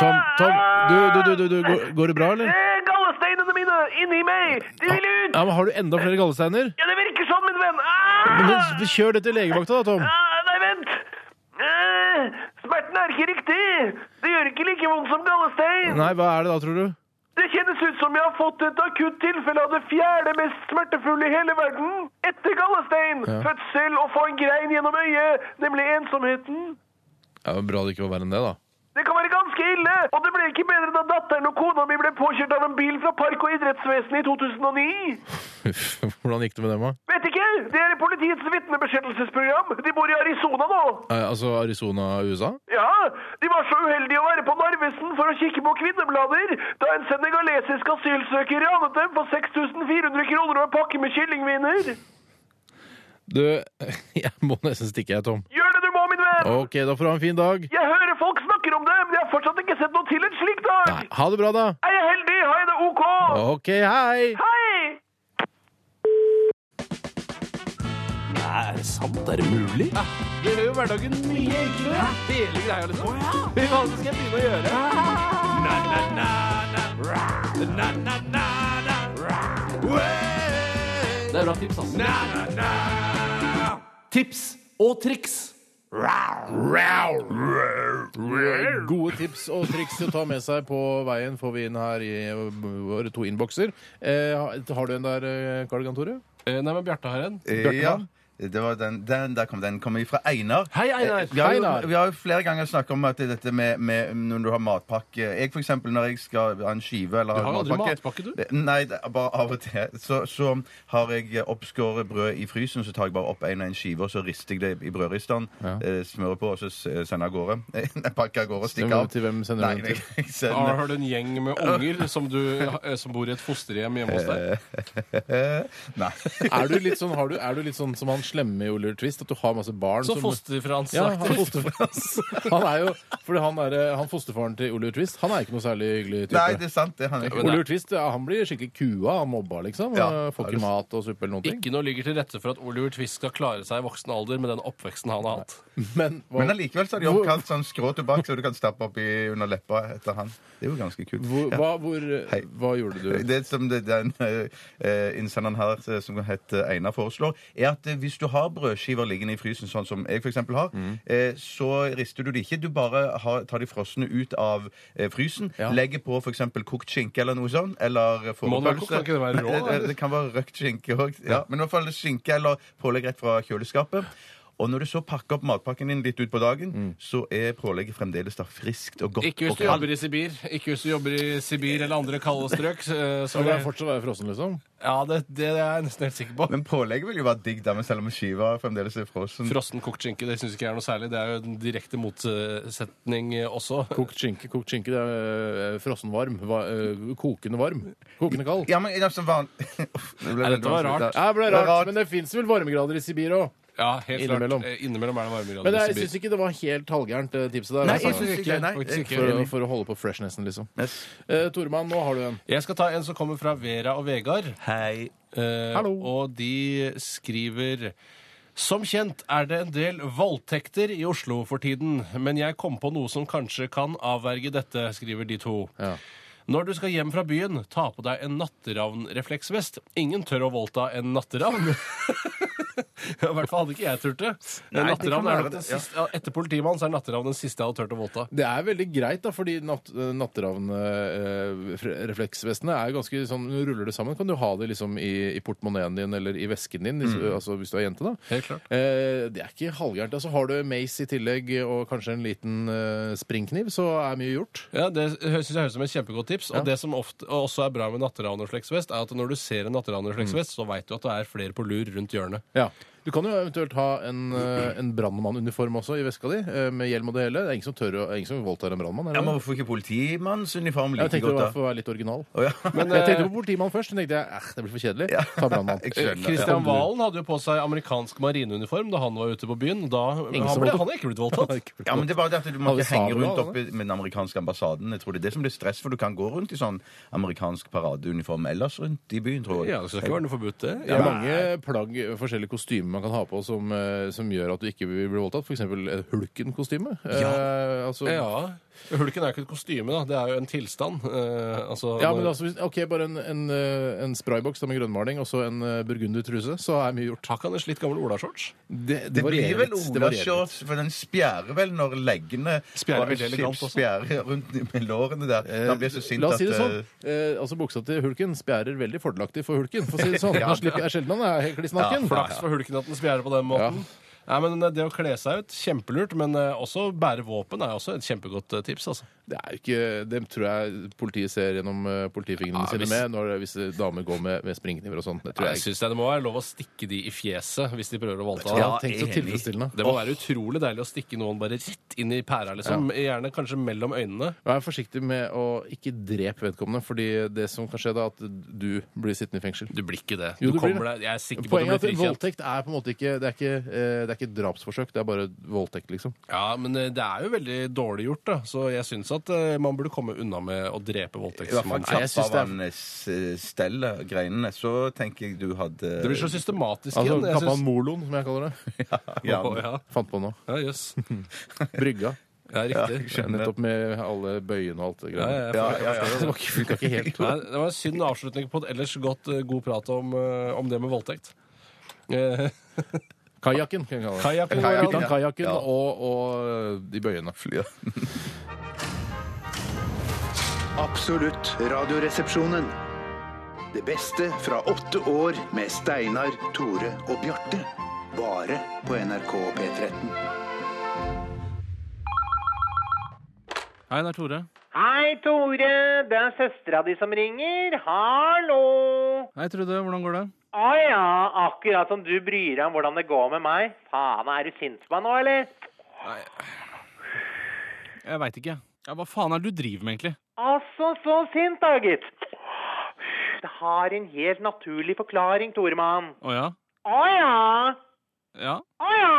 Speaker 7: Tom, Tom. Du, du, du, du, du. Går, går det bra, eller?
Speaker 10: Eh, Gallesteinene mine! Inni meg! De vil ut!
Speaker 7: Ja, men Har du enda flere gallesteiner?
Speaker 10: Ja, det virker sånn, min venn! Ah!
Speaker 7: Men da Kjør det til legevakta, da, Tom.
Speaker 10: Ah, nei, vent! Eh, Smerten er ikke riktig! Det gjør ikke like vondt som gallestein!
Speaker 7: Nei, hva er det da, tror du?
Speaker 10: Det kjennes ut som jeg har fått et akutt tilfelle av det fjerde mest smertefulle i hele verden. Etter gallestein,
Speaker 7: Ja.
Speaker 10: fødsel og få en grein gjennom øyet, nemlig ensomheten.
Speaker 7: Ja, men Bra det ikke var verre enn det, da.
Speaker 10: Det kan være ganske ille, og det ble ikke bedre da datteren og kona mi ble påkjørt av en bil fra Park- og idrettsvesenet i 2009.
Speaker 7: Uff, Hvordan gikk det med dem, da?
Speaker 10: Vet ikke, det er i politiets vitnebeskyttelsesprogram. De bor i Arizona nå.
Speaker 7: Eh, Altså Arizona, USA?
Speaker 10: Ja, de var så uheldige å være på Narvesen for å kikke på kvinneblader da en senegalesisk asylsøker ranet dem for 6400 kroner og en pakke med kyllingviner.
Speaker 7: Du, jeg må nesten stikke, jeg, Tom.
Speaker 10: Gjør det du må, min venn!
Speaker 7: OK, da får du ha en fin dag.
Speaker 10: Jeg hører folk snakker om det, men jeg har fortsatt ikke sett noe til en slik dag.
Speaker 7: Ha det bra, da.
Speaker 10: Er jeg heldig, har jeg det OK.
Speaker 7: OK, hei!
Speaker 10: Hei!
Speaker 1: Er det sant? Er det mulig?
Speaker 8: Det gjør jo hverdagen mye enklere. Hele greia, liksom. Hva skal jeg begynne å gjøre? Ah. Det er bra tips, altså. Tips og triks.
Speaker 7: Gode tips og triks å ta med seg på veien får vi inn her i våre to innbokser. Eh, har du en der, eh, Karl Gann Tore?
Speaker 8: Nei, men Bjarte har en.
Speaker 7: Bjarte,
Speaker 3: Eh, Ja, det var den, den, der kom den. Kommer fra Einar.
Speaker 8: Hei, Einar.
Speaker 3: Eh, Vi har,
Speaker 8: Hei, Einar.
Speaker 3: jo, vi har jo flere ganger snakket om at det er dette med, med når du har matpakke Jeg for eksempel, når jeg skal ha en skive eller
Speaker 8: Du har jo aldri matpakke,
Speaker 3: du. Nei, det er bare av og til. Så, så har jeg oppskåret brød i frysen, så tar jeg bare opp en og en skive, og så rister jeg det i brødristeren, eh, smører på, og så s- eh, sender jeg av gårde. Nei, pakker av gårde og stikker
Speaker 7: Stemmer
Speaker 3: av.
Speaker 7: til hvem sender
Speaker 3: Nei,
Speaker 7: du den
Speaker 3: jeg-
Speaker 7: til?
Speaker 3: jeg sender-
Speaker 8: Ah, Har har du en gjeng med unger som, du, eh, som bor i et fosterhjem hjemme hos
Speaker 3: Eh,
Speaker 8: deg?
Speaker 3: Nei.
Speaker 7: Er du, litt sånn, har du, er du litt sånn som han slemme i Oliver Twist, at du har masse barn
Speaker 8: Så
Speaker 7: som-
Speaker 8: fosterfrans.
Speaker 7: Ja, han, fosterfrans. han er jo Fordi han, er, eh, han fosterfaren til Oliver Twist, han er ikke noe særlig hyggelig type.
Speaker 3: Nei, det er sant. Det er han ikke.
Speaker 7: Oliver Twist ja, han blir skikkelig kua av mobba, liksom.
Speaker 8: Ja,
Speaker 7: Får
Speaker 8: er
Speaker 7: ikke
Speaker 8: det-
Speaker 7: mat og suppe eller noen ting.
Speaker 8: Ikke noe ligger til rette for at Oliver Twist skal klare seg i voksen alder med den oppveksten han har hatt.
Speaker 7: Men,
Speaker 3: Men allikevel så har de oppkalt sånn skrå tobakk så du kan stappe oppi under leppa etter han. Det er jo ganske kult.
Speaker 7: Hvor, hva, hvor, eh, hva gjorde du?
Speaker 3: Det som det, den eh, eh, innsenderen her eh, som heter Einar foreslår, er at eh, hvis du har brødskiver liggende i frysen, sånn som jeg f.eks. har,
Speaker 7: Mm.
Speaker 3: eh, så rister du de ikke. Du bare har, tar de frosne ut av eh, frysen, legger på f.eks. kokt skinke eller noe sånt, eller eh, fårepølse.
Speaker 8: Monaco, kan ikke det være rå,
Speaker 3: Nei,
Speaker 8: eller?
Speaker 3: det, det kan være røkt skinke òg. Ja. Men i hvert fall skinke eller pålegg rett fra kjøleskapet. Og når du så pakker opp matpakken din litt utpå dagen, så er pålegget fremdeles da friskt og godt.
Speaker 8: Ikke hvis
Speaker 3: og
Speaker 8: du jobber i Sibir Ikke hvis du jobber i Sibir eller andre kalde strøk. eh,
Speaker 3: Da vil jeg
Speaker 7: fortsatt være frossen, liksom?
Speaker 8: Ja, det, det er jeg nesten helt sikker på.
Speaker 3: Men pålegget vil jo være digg, da, men selv om skiva fremdeles er
Speaker 7: Sånn-
Speaker 3: frossen.
Speaker 8: Frossen kokt skinke det syns ikke jeg er noe særlig. Det er jo en direkte motsetning eh, også.
Speaker 7: Kokt skinke, kokt skinke, det er øh, frossen varm. Va, øh, kokende varm. Kokende kald.
Speaker 3: Ja, men altså, van...
Speaker 8: Nei, dette var rart.
Speaker 7: Ja, det ble rart, Men det fins vel varmegrader i Sibir òg.
Speaker 8: Ja, helt
Speaker 7: Innimellom.
Speaker 8: klart. Eh, Innimellom er det varmegrader
Speaker 7: Men det,
Speaker 8: i
Speaker 7: jeg
Speaker 8: Sibir.
Speaker 7: syns ikke det var helt halvgærent, det tipset der.
Speaker 8: Nei,
Speaker 7: altså.
Speaker 8: jeg synes ikke- nei, jeg er ikke
Speaker 7: for, å,
Speaker 8: enig.
Speaker 7: for å holde på freshnessen, liksom. Eh, Toremann, nå har du en.
Speaker 8: Jeg skal ta en som kommer fra Vera og Vegard. Hei.
Speaker 7: Hallo.
Speaker 8: Og de skriver som kjent er det en del voldtekter i Oslo for tiden, men jeg kom på noe som kanskje kan avverge dette, skriver de to. Når du skal hjem fra byen, ta på deg en natteravnrefleksvest. Ingen tør å voldta en natteravn. I hvert fall hadde ikke jeg turt det.
Speaker 7: Nei, det kan
Speaker 8: Natteravn er
Speaker 7: være det,
Speaker 8: nok den
Speaker 7: ja.
Speaker 8: siste, ja, Etter politimannen så er natteravn den siste jeg hadde turt å voldta.
Speaker 7: Det er veldig greit, da, fordi natt, eh, natteravnrefleksvestene er ganske sånn når du Ruller det sammen, kan du ha det liksom i, i portemoneen din eller i vesken din, hvis,
Speaker 8: Mm.
Speaker 7: altså, hvis du er jente, da.
Speaker 8: Helt klart.
Speaker 7: Eh, det er ikke halvgærent. Altså, har du Mace i tillegg og kanskje en liten eh, springkniv, så er mye gjort.
Speaker 8: Ja, Det synes jeg høres ut som et kjempegodt tips.
Speaker 7: Ja.
Speaker 8: Og det som ofte, og også er bra med natteravnrefleksvest, er at når du ser en natteravnrefleksvest, så veit du at det er flere på lur rundt hjørnet.
Speaker 7: Ja. Du kan jo eventuelt ha en, eh, en brannmannuniform også i veska di, eh, med hjelm og det hele. Det er ingen som tør å, ingen som voldtar en brannmann. er det
Speaker 16: Ja, men
Speaker 7: det?
Speaker 16: Hvorfor ikke politimannsuniform
Speaker 7: Jeg
Speaker 16: like
Speaker 7: tenkte
Speaker 16: godt,
Speaker 7: det var
Speaker 16: da?
Speaker 7: for å være litt original.
Speaker 16: Å, ja.
Speaker 7: Men, jeg tenkte på politimann først, så tenkte jeg eh, det blir for kjedelig. Ta brannmann.
Speaker 8: Kristian Eh, Valen hadde jo på seg amerikansk marineuniform da han var ute på byen. Da,
Speaker 16: Ingen
Speaker 8: han,
Speaker 16: som
Speaker 8: ble,
Speaker 16: voldtok.
Speaker 8: han er ikke blitt voldtatt.
Speaker 16: Ja, men det er bare det at Du må
Speaker 8: Alle
Speaker 16: ikke henge
Speaker 8: sabler,
Speaker 16: rundt
Speaker 8: alle.
Speaker 16: oppe med den amerikanske ambassaden. Jeg tror Det er det som blir stress, for du kan gå rundt i sånn amerikansk paradeuniform ellers rundt i byen, tror jeg.
Speaker 8: Ja, det skal ikke være noe forbudt, det.
Speaker 7: Det er mange plagg, forskjellige kostymer man kan ha på som, eh, som gjør at du ikke vil bli voldtatt. F.eks. Hulken-kostyme. Eh, altså,
Speaker 8: Ja. Hulken er jo ikke et kostyme, da. Det er jo en tilstand. Eh, altså,
Speaker 7: Ja, men altså, hvis- ok, Bare en, en, eh, en sprayboks da med grønnmaling og så en eh, burgundertruse, så er mye gjort. Har
Speaker 8: ikke han en slitt gammel olashorts?
Speaker 7: Det,
Speaker 16: Det blir vel
Speaker 7: litt, det varierer litt.
Speaker 16: olashorts, for den spjærer vel når leggene
Speaker 7: Spjærer veldig elegant også. Eh,
Speaker 16: spjærer rundt med lårene der. Da blir jeg så sint
Speaker 7: La oss si
Speaker 16: at,
Speaker 7: det sånn.
Speaker 16: eh,
Speaker 7: Eh, altså Buksa til hulken spjærer veldig fordelaktig for hulken. For å si det sånn.
Speaker 8: Ja.
Speaker 7: Han slipper er sjelden han er helt kliss naken.
Speaker 8: Ja, flaks for hulken at den spjærer på den måten. Nei, men eh, Det å kle seg ut, kjempelurt. Men eh, også bære våpen er også et kjempegodt eh, tips. altså.
Speaker 7: Det er jo ikke, Dem tror jeg politiet ser gjennom eh, politifingrene
Speaker 8: Ja,
Speaker 7: sine
Speaker 8: hvis-
Speaker 7: med når hvis damer går med, med springkniver og sånn. Det tror
Speaker 8: Nei,
Speaker 7: jeg
Speaker 8: synes jeg Det må være lov å stikke de i fjeset hvis de prøver å voldta.
Speaker 7: Ja, Ja, tenk så enig. tilfredsstillende.
Speaker 8: Det må være utrolig deilig å stikke noen bare rett inn i pæra, liksom. Gjerne kanskje mellom øynene.
Speaker 7: Vær forsiktig med å ikke drepe vedkommende, fordi det som kan skje da, at du blir sittende i fengsel.
Speaker 8: Du blir ikke det.
Speaker 7: Jo,
Speaker 8: Du
Speaker 7: du blir
Speaker 8: kommer
Speaker 7: det.
Speaker 8: deg- jeg er sikker på at du
Speaker 7: Poenget er
Speaker 8: blir
Speaker 7: at
Speaker 8: frikjent.
Speaker 7: voldtekt er på en måte ikke Det er ikke, eh, det er ikke et drapsforsøk, det er bare voldtekt, liksom.
Speaker 8: Ja, men eh, det er jo veldig dårlig gjort, da. Så jeg syns at eh, man burde komme unna med å
Speaker 16: I
Speaker 8: drepe
Speaker 16: hvert fall
Speaker 8: voldtektsmannen.
Speaker 16: kjapt av han eh, s- steller greinene, så tenker jeg du hadde
Speaker 8: Det blir så systematisk
Speaker 7: Altså,
Speaker 8: igjen. jeg
Speaker 7: Kappan
Speaker 8: synes-
Speaker 7: Moloen, som jeg kaller det.
Speaker 16: Ja,
Speaker 8: Eh, ja.
Speaker 7: Fant på nå.
Speaker 8: Ja, jøss.
Speaker 7: Brygga.
Speaker 8: Ja, riktig.
Speaker 7: Ja, Nettopp med alle bøyene og alt det
Speaker 8: Ja,
Speaker 7: greia.
Speaker 8: ja, jeg forstår- jeg forstår det.
Speaker 7: Det var ikke- funka ikke helt.
Speaker 8: Nei, det var en synd avslutning på et ellers godt, eh, god prat om, eh, om det med voldtekt. Eh,
Speaker 7: Kajakken, kan jeg kalle det.
Speaker 8: Kajakken,
Speaker 7: Kajakken,
Speaker 8: ja.
Speaker 7: Bytte han kajakken
Speaker 8: Ja.
Speaker 7: og, og de bøyene.
Speaker 19: Absolutt radioresepsjonen. Det beste fra åtte år med Steinar, Tore og Bjarte. Bare på NRK P13.
Speaker 8: Hei, det er Tore.
Speaker 4: Hei, Tore. Det er søstera di som ringer. Hallo.
Speaker 8: Hei, Trude. Hvordan går det?
Speaker 4: Å ja, akkurat som du bryr deg om hvordan det går med meg. Faen, er du sint på meg nå, eller?
Speaker 8: Jeg veit ikke. Ja, hva faen er det du driver med, egentlig?
Speaker 4: Altså, så sint da, gitt. Det har en helt naturlig forklaring, Toremann.
Speaker 8: Å ja?
Speaker 4: Å ja.
Speaker 8: Ja?
Speaker 4: Å ja.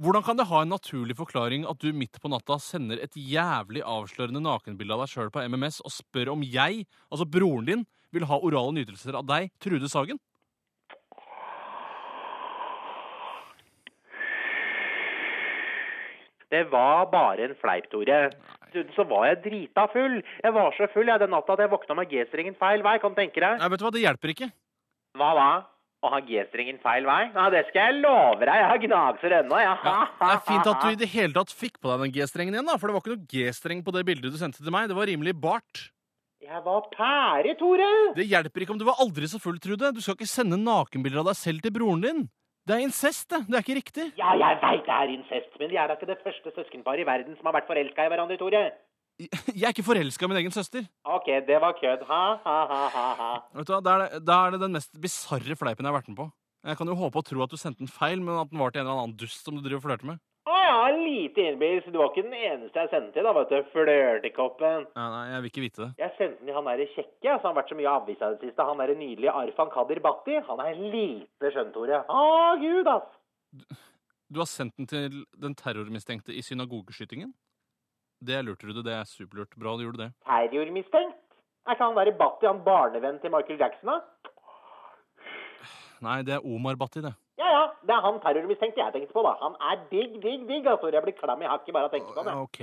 Speaker 8: Hvordan kan det ha en naturlig forklaring at du midt på natta sender et jævlig avslørende nakenbilde av deg sjøl på MMS og spør om jeg, altså broren din, vil ha orale nytelser av deg, Trude Sagen?
Speaker 4: Det var bare en fleip, Tore. Dessuten Så var jeg drita full. Jeg var så full jeg, den natta at jeg våkna med G-strengen feil vei. Kan du tenke deg?
Speaker 8: Nei, vet du hva, det hjelper ikke.
Speaker 4: Hva da? Å ha G-strengen feil vei? Ja, det skal jeg love deg. Jeg har gnagser ennå, jeg. Ja.
Speaker 8: Det er fint at du i det hele tatt fikk på deg den G-strengen igjen, da, for det var ikke noe G-streng på det bildet du sendte til meg. Det var rimelig bart.
Speaker 4: Jeg var pære, Tore.
Speaker 8: Det hjelper ikke om du var aldri så full, Trude. Du skal ikke sende nakenbilder av deg selv til broren din. Det er incest, det. Det er ikke riktig.
Speaker 4: Ja, jeg veit det er incest, men de er da ikke det første søskenparet i verden som har vært forelska i hverandre, Tore.
Speaker 8: Jeg er ikke forelska i min egen søster.
Speaker 4: OK, det var kødd. Ha, ha, ha, ha, ha.
Speaker 8: Vet du hva, Da er det, da er det den mest bisarre fleipen jeg har vært med på. Jeg kan jo håpe og tro at du sendte den feil, men at den var til en eller annen dust som du driver og flørter med.
Speaker 4: Å ja, lite innbillelse. Du var ikke den eneste jeg sendte til, da, vet du. Flørtekoppen.
Speaker 8: Nei, nei, jeg vil ikke vite det.
Speaker 4: Jeg sendte den til han derre kjekke som har vært så mye i avisa i det siste. Han derre nydelige Arfan Kadir Bhatti. Han er lite skjønn, Tore. Å, gud, ass.
Speaker 8: Du har sendt den til den terrormistenkte i synagogeskytingen? Det er lurt, Rude. Det er superlurt. Bra du gjorde det.
Speaker 4: Terrormistenkt? Er ikke han derre Bhatti han barnevenn til Michael Jackson, da?
Speaker 8: Nei, det er Omar Bhatti, det.
Speaker 4: Ja ja, det er han terrormistenkte jeg tenkte på, da. Han er digg, digg, digg, ass, Tore. Jeg blir klam i hakket bare av å tenke på det.
Speaker 8: OK.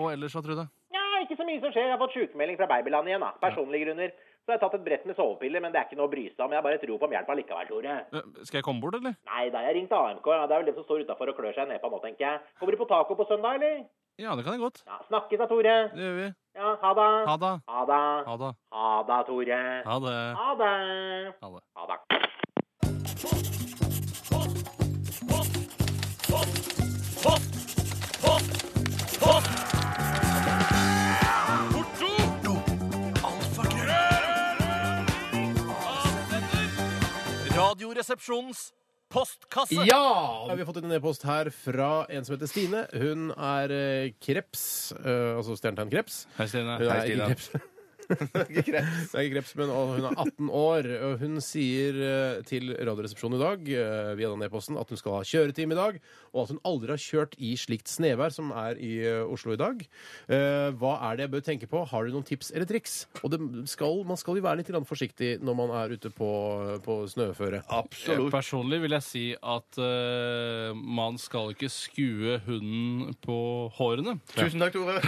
Speaker 8: Og ellers, da, Trude?
Speaker 4: Ja, ikke så mye som skjer. Jeg har fått sykemelding fra babyland igjen, da. Personlige grunner. Så jeg har tatt et brett med sovepiller, men det er ikke noe å bry seg om. Jeg bare tror på om hjelp allikevel, Tore.
Speaker 8: Eh, Skal jeg komme bort, eller?
Speaker 4: Nei, da har jeg ringt AMK. Ja, det er vel dem som står utafor og klør seg nedpå nå, tenker jeg. Kommer du på taco på søndag, eller?
Speaker 8: Ja, det kan jeg godt.
Speaker 4: Ja, snakkes da, Tore.
Speaker 8: Det gjør vi.
Speaker 4: Ja, ha det.
Speaker 8: Ha det.
Speaker 4: Ha det.
Speaker 8: Ha det.
Speaker 4: Ha det, Tore.
Speaker 8: Ha det.
Speaker 4: Ha det.
Speaker 8: Ha det.
Speaker 4: Ha det.
Speaker 19: Alfakrøll.
Speaker 20: Radioresepsjonens postkasse.
Speaker 7: Ja! Vi har fått en e-post her fra en som heter Stine. Hun er eh, kreps, eh, altså stjernetegn kreps.
Speaker 5: Hei, Stine.
Speaker 7: Hun er
Speaker 5: Hei, Stine.
Speaker 7: ikke kreps. Det er ikke kreps, men og hun er 18 år. Og hun sier eh, til Radioresepsjonen i dag eh, via den e-posten at hun skal ha kjøretime i dag, og at hun aldri har kjørt i slikt snevær som er i eh, Oslo i dag. Eh, Hva er det jeg bør tenke på? Har du noen tips eller triks? Og det skal, man skal jo være litt grann forsiktig når man er ute på, på snøføre.
Speaker 8: Eh, Personlig vil jeg si at eh, man skal ikke skue hunden på hårene.
Speaker 3: Tusen takk, Tore.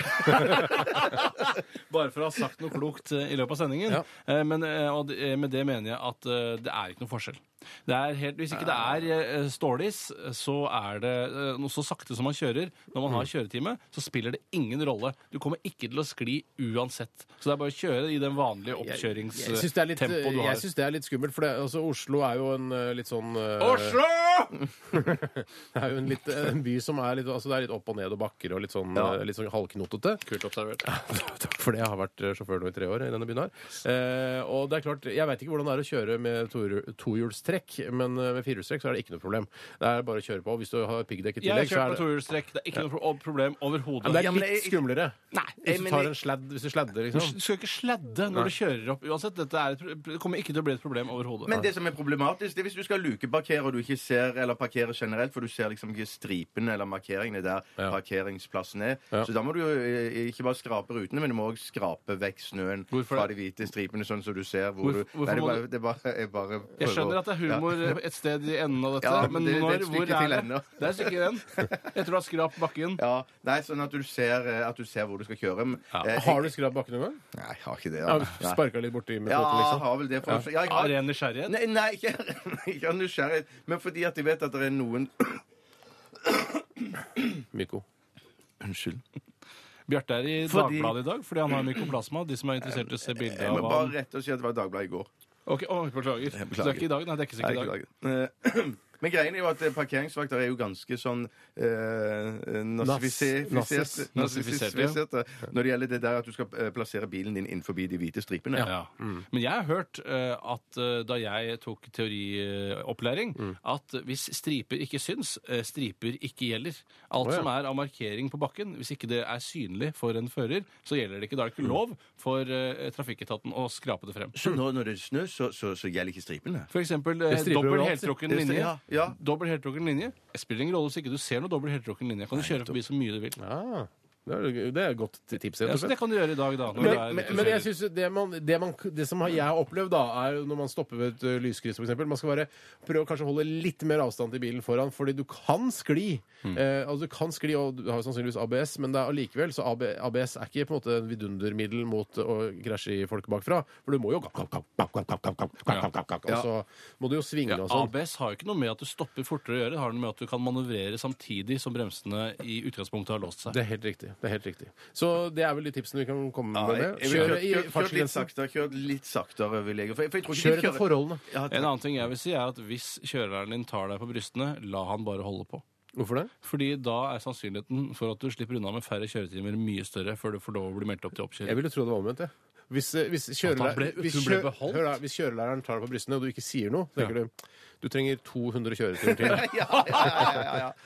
Speaker 8: Bare for å ha sagt noe klokt eh, i løpet av sendingen. Eh, men eh, og det- eh, med det mener jeg at eh, det er ikke noe forskjell. Det er helt, hvis ikke det er
Speaker 7: Ah.
Speaker 8: eh, stålis, så er det eh, noe så sakte som man kjører når
Speaker 7: Mm.
Speaker 8: man har kjøretime, så spiller det ingen rolle. Du kommer ikke til å skli uansett. Så det er bare å kjøre i den vanlige
Speaker 7: Jeg syns det, er litt- eh,
Speaker 8: oppkjøringstempoet du
Speaker 7: jeg
Speaker 8: har.
Speaker 7: synes det er litt skummelt, for det, altså, Oslo er jo en eh, litt sånn eh, Det er jo en, litt, en by som er litt, altså det er litt opp og ned og bakker og litt sånn,
Speaker 8: Ja.
Speaker 7: eh, litt sånn halvknotete.
Speaker 8: Kult observert.
Speaker 7: Takk for det. Jeg har vært eh, sjåfør nå i tre år i denne byen her. Eh, og det er klart, jeg veit ikke hvordan det er å kjøre med tohjul- tohjulstrekk, men eh, med firehjulstrekk så er det ikke noe problem. Det er bare å kjøre på. Og hvis du har piggdekk i
Speaker 8: Jeg har
Speaker 7: tillegg, så
Speaker 8: kjørt
Speaker 7: er
Speaker 8: med
Speaker 7: det
Speaker 8: tohjulstrekk. Det er ikke noe pro- problem overhodet.
Speaker 7: Ja, men det er litt skumlere.
Speaker 8: jeg
Speaker 7: hvis du
Speaker 8: mener-
Speaker 7: tar en sladd, hvis du sladder,
Speaker 8: Du
Speaker 7: liksom.
Speaker 8: skal ikke sladde når
Speaker 7: Nei.
Speaker 8: du kjører opp. Uansett, dette er et, pro- kommer ikke til å bli et problem overhodet.
Speaker 3: Men det som er problematisk, det er hvis du skal lukeparkere, og du ikke ser eller parkerer generelt, for du ser liksom ikke stripene eller markeringene der parkeringsplassen er,
Speaker 7: Ja.
Speaker 3: så da må du jo eh, ikke bare skrape rutene, men du må også skrape vekk snøen fra de hvite stripene, sånn så du ser hvor
Speaker 8: Hvorfor-
Speaker 3: du
Speaker 8: hvorfor
Speaker 3: Nei, det
Speaker 8: må
Speaker 3: er bare,
Speaker 8: du-
Speaker 3: det er bare, jeg bare
Speaker 8: Jeg
Speaker 3: prøver
Speaker 8: skjønner
Speaker 3: å-
Speaker 8: at det er humor
Speaker 3: Ja.
Speaker 8: et sted i enden av dette,
Speaker 3: Ja,
Speaker 8: men
Speaker 3: det- det er et
Speaker 8: når,
Speaker 3: stykke
Speaker 8: hvor
Speaker 3: til
Speaker 8: er det?
Speaker 3: ennå.
Speaker 8: Det er et stykke igjen. Etter å ha skrapt bakken.
Speaker 3: Ja, Nei, sånn at du ser, eh, at du ser hvor du skal kjøre. Men, eh,
Speaker 7: Har du skrapt bakken noen gang?
Speaker 3: Nei, jeg har ikke det.
Speaker 7: Ja,
Speaker 3: da. Nei.
Speaker 7: Sparka litt borti med
Speaker 3: Ja,
Speaker 7: foten, liksom?
Speaker 3: har vel det for
Speaker 7: Ja.
Speaker 3: ja. jeg har-
Speaker 7: Av ren
Speaker 8: nysgjerrighet?
Speaker 3: Nei, nei ikke, ikke av nysgjerrighet, men fordi at jeg vet at det er noen
Speaker 7: Myko.
Speaker 3: Unnskyld.
Speaker 8: Bjarte er i
Speaker 3: Fordi-
Speaker 8: Dagbladet i dag fordi han har mykoplasma. De som er interessert i å se bilde
Speaker 3: Jeg må
Speaker 8: av
Speaker 3: bare
Speaker 8: han.
Speaker 3: rette og si at det var Dagbladet i går.
Speaker 8: Ok, å, beklager. Så det er ikke i dag? Nei, det er ikke sikkert i dag.
Speaker 3: dag. Men greien er jo at eh, parkeringsvakter er jo ganske sånn eh, nazifiserte
Speaker 8: Nazis. Nazifiserte, ja.
Speaker 3: nazifiserte eh, når det gjelder det der at du skal eh, plassere bilen din innenfor de hvite stripene.
Speaker 8: Ja.
Speaker 3: Mm.
Speaker 8: Men jeg har hørt eh, at eh, da jeg tok teoriopplæring,
Speaker 3: Mm.
Speaker 8: at hvis striper ikke syns, eh, striper ikke gjelder. Alt
Speaker 7: Å, ja.
Speaker 8: som er av markering på bakken, hvis ikke det er synlig for en fører, så gjelder det ikke. Da er det ikke lov for eh, trafikketaten å skrape det frem.
Speaker 3: Mm. Så nå når det er snø, så, så, så gjelder ikke stripene?
Speaker 8: For eksempel eh,
Speaker 3: Det striper
Speaker 8: dobbel
Speaker 3: overalt.
Speaker 8: heltrukken
Speaker 3: Det stri-
Speaker 8: linje.
Speaker 3: ja, ja.
Speaker 8: Dobbel heltrukken linje. Det spiller ingen rolle hvis ikke du ser noe dobbel heltrukken linje. Kan du kjøre forbi så mye du vil.
Speaker 7: Det er, det er et godt tips. rett og
Speaker 8: Ja, så
Speaker 7: slett.
Speaker 8: det kan du gjøre i dag, da. når du er
Speaker 7: Men, men,
Speaker 8: ute og
Speaker 7: men jeg
Speaker 8: kjører.
Speaker 7: synes det, man, det, man, det som jeg har opplevd, da, er jo når man stopper ved et ø, lyskryss, f.eks. Man skal bare prøve å kanskje holde litt mer avstand til bilen foran, fordi du kan skli. Eh, altså, du kan skli, og du har jo sannsynligvis ABS, men det er allikevel så AB, ABS er ikke på en måte en vidundermiddel mot å krasje i folk bakfra. For du må jo gap, gap, gap, gap, gap, gap, gap, gap, gap, gap, gap, Og så må du jo svinge og sånn.
Speaker 8: ABS har jo ikke noe med at du stopper fortere å gjøre. Det har noe med at du kan manøvrere samtidig som bremsene i utgangspunktet har låst seg.
Speaker 7: Det er helt riktig. det er helt riktig. Så det er vel de tipsene vi kan komme
Speaker 3: Ja,
Speaker 7: med.
Speaker 3: jeg, jeg, kjør,
Speaker 7: Kjøre i
Speaker 3: kjør litt
Speaker 7: fartsgrensen.
Speaker 3: saktere, kjør litt saktere, vil jeg. For jeg, for jeg tror ikke
Speaker 7: Kjør
Speaker 3: de
Speaker 7: etter forholdene.
Speaker 3: Ja,
Speaker 8: en annen ting jeg vil si er at Hvis kjøreren din tar deg på brystene, la han bare holde på.
Speaker 7: Hvorfor det?
Speaker 8: Fordi da er sannsynligheten for at du slipper unna med færre kjøretimer mye større før du får lov å bli meldt opp til oppkjøring.
Speaker 7: Jeg ville tro det var omvendt, jeg. Hvis, eh, hvis,
Speaker 8: han
Speaker 7: kjørelærer,
Speaker 8: ble-
Speaker 7: hvis,
Speaker 8: hun ble
Speaker 7: kjø-
Speaker 8: beholdt?
Speaker 7: hør da, hvis kjørelæreren tar deg på brystene, og du ikke sier noe, så tenker du du trenger 200 kjøreturer til.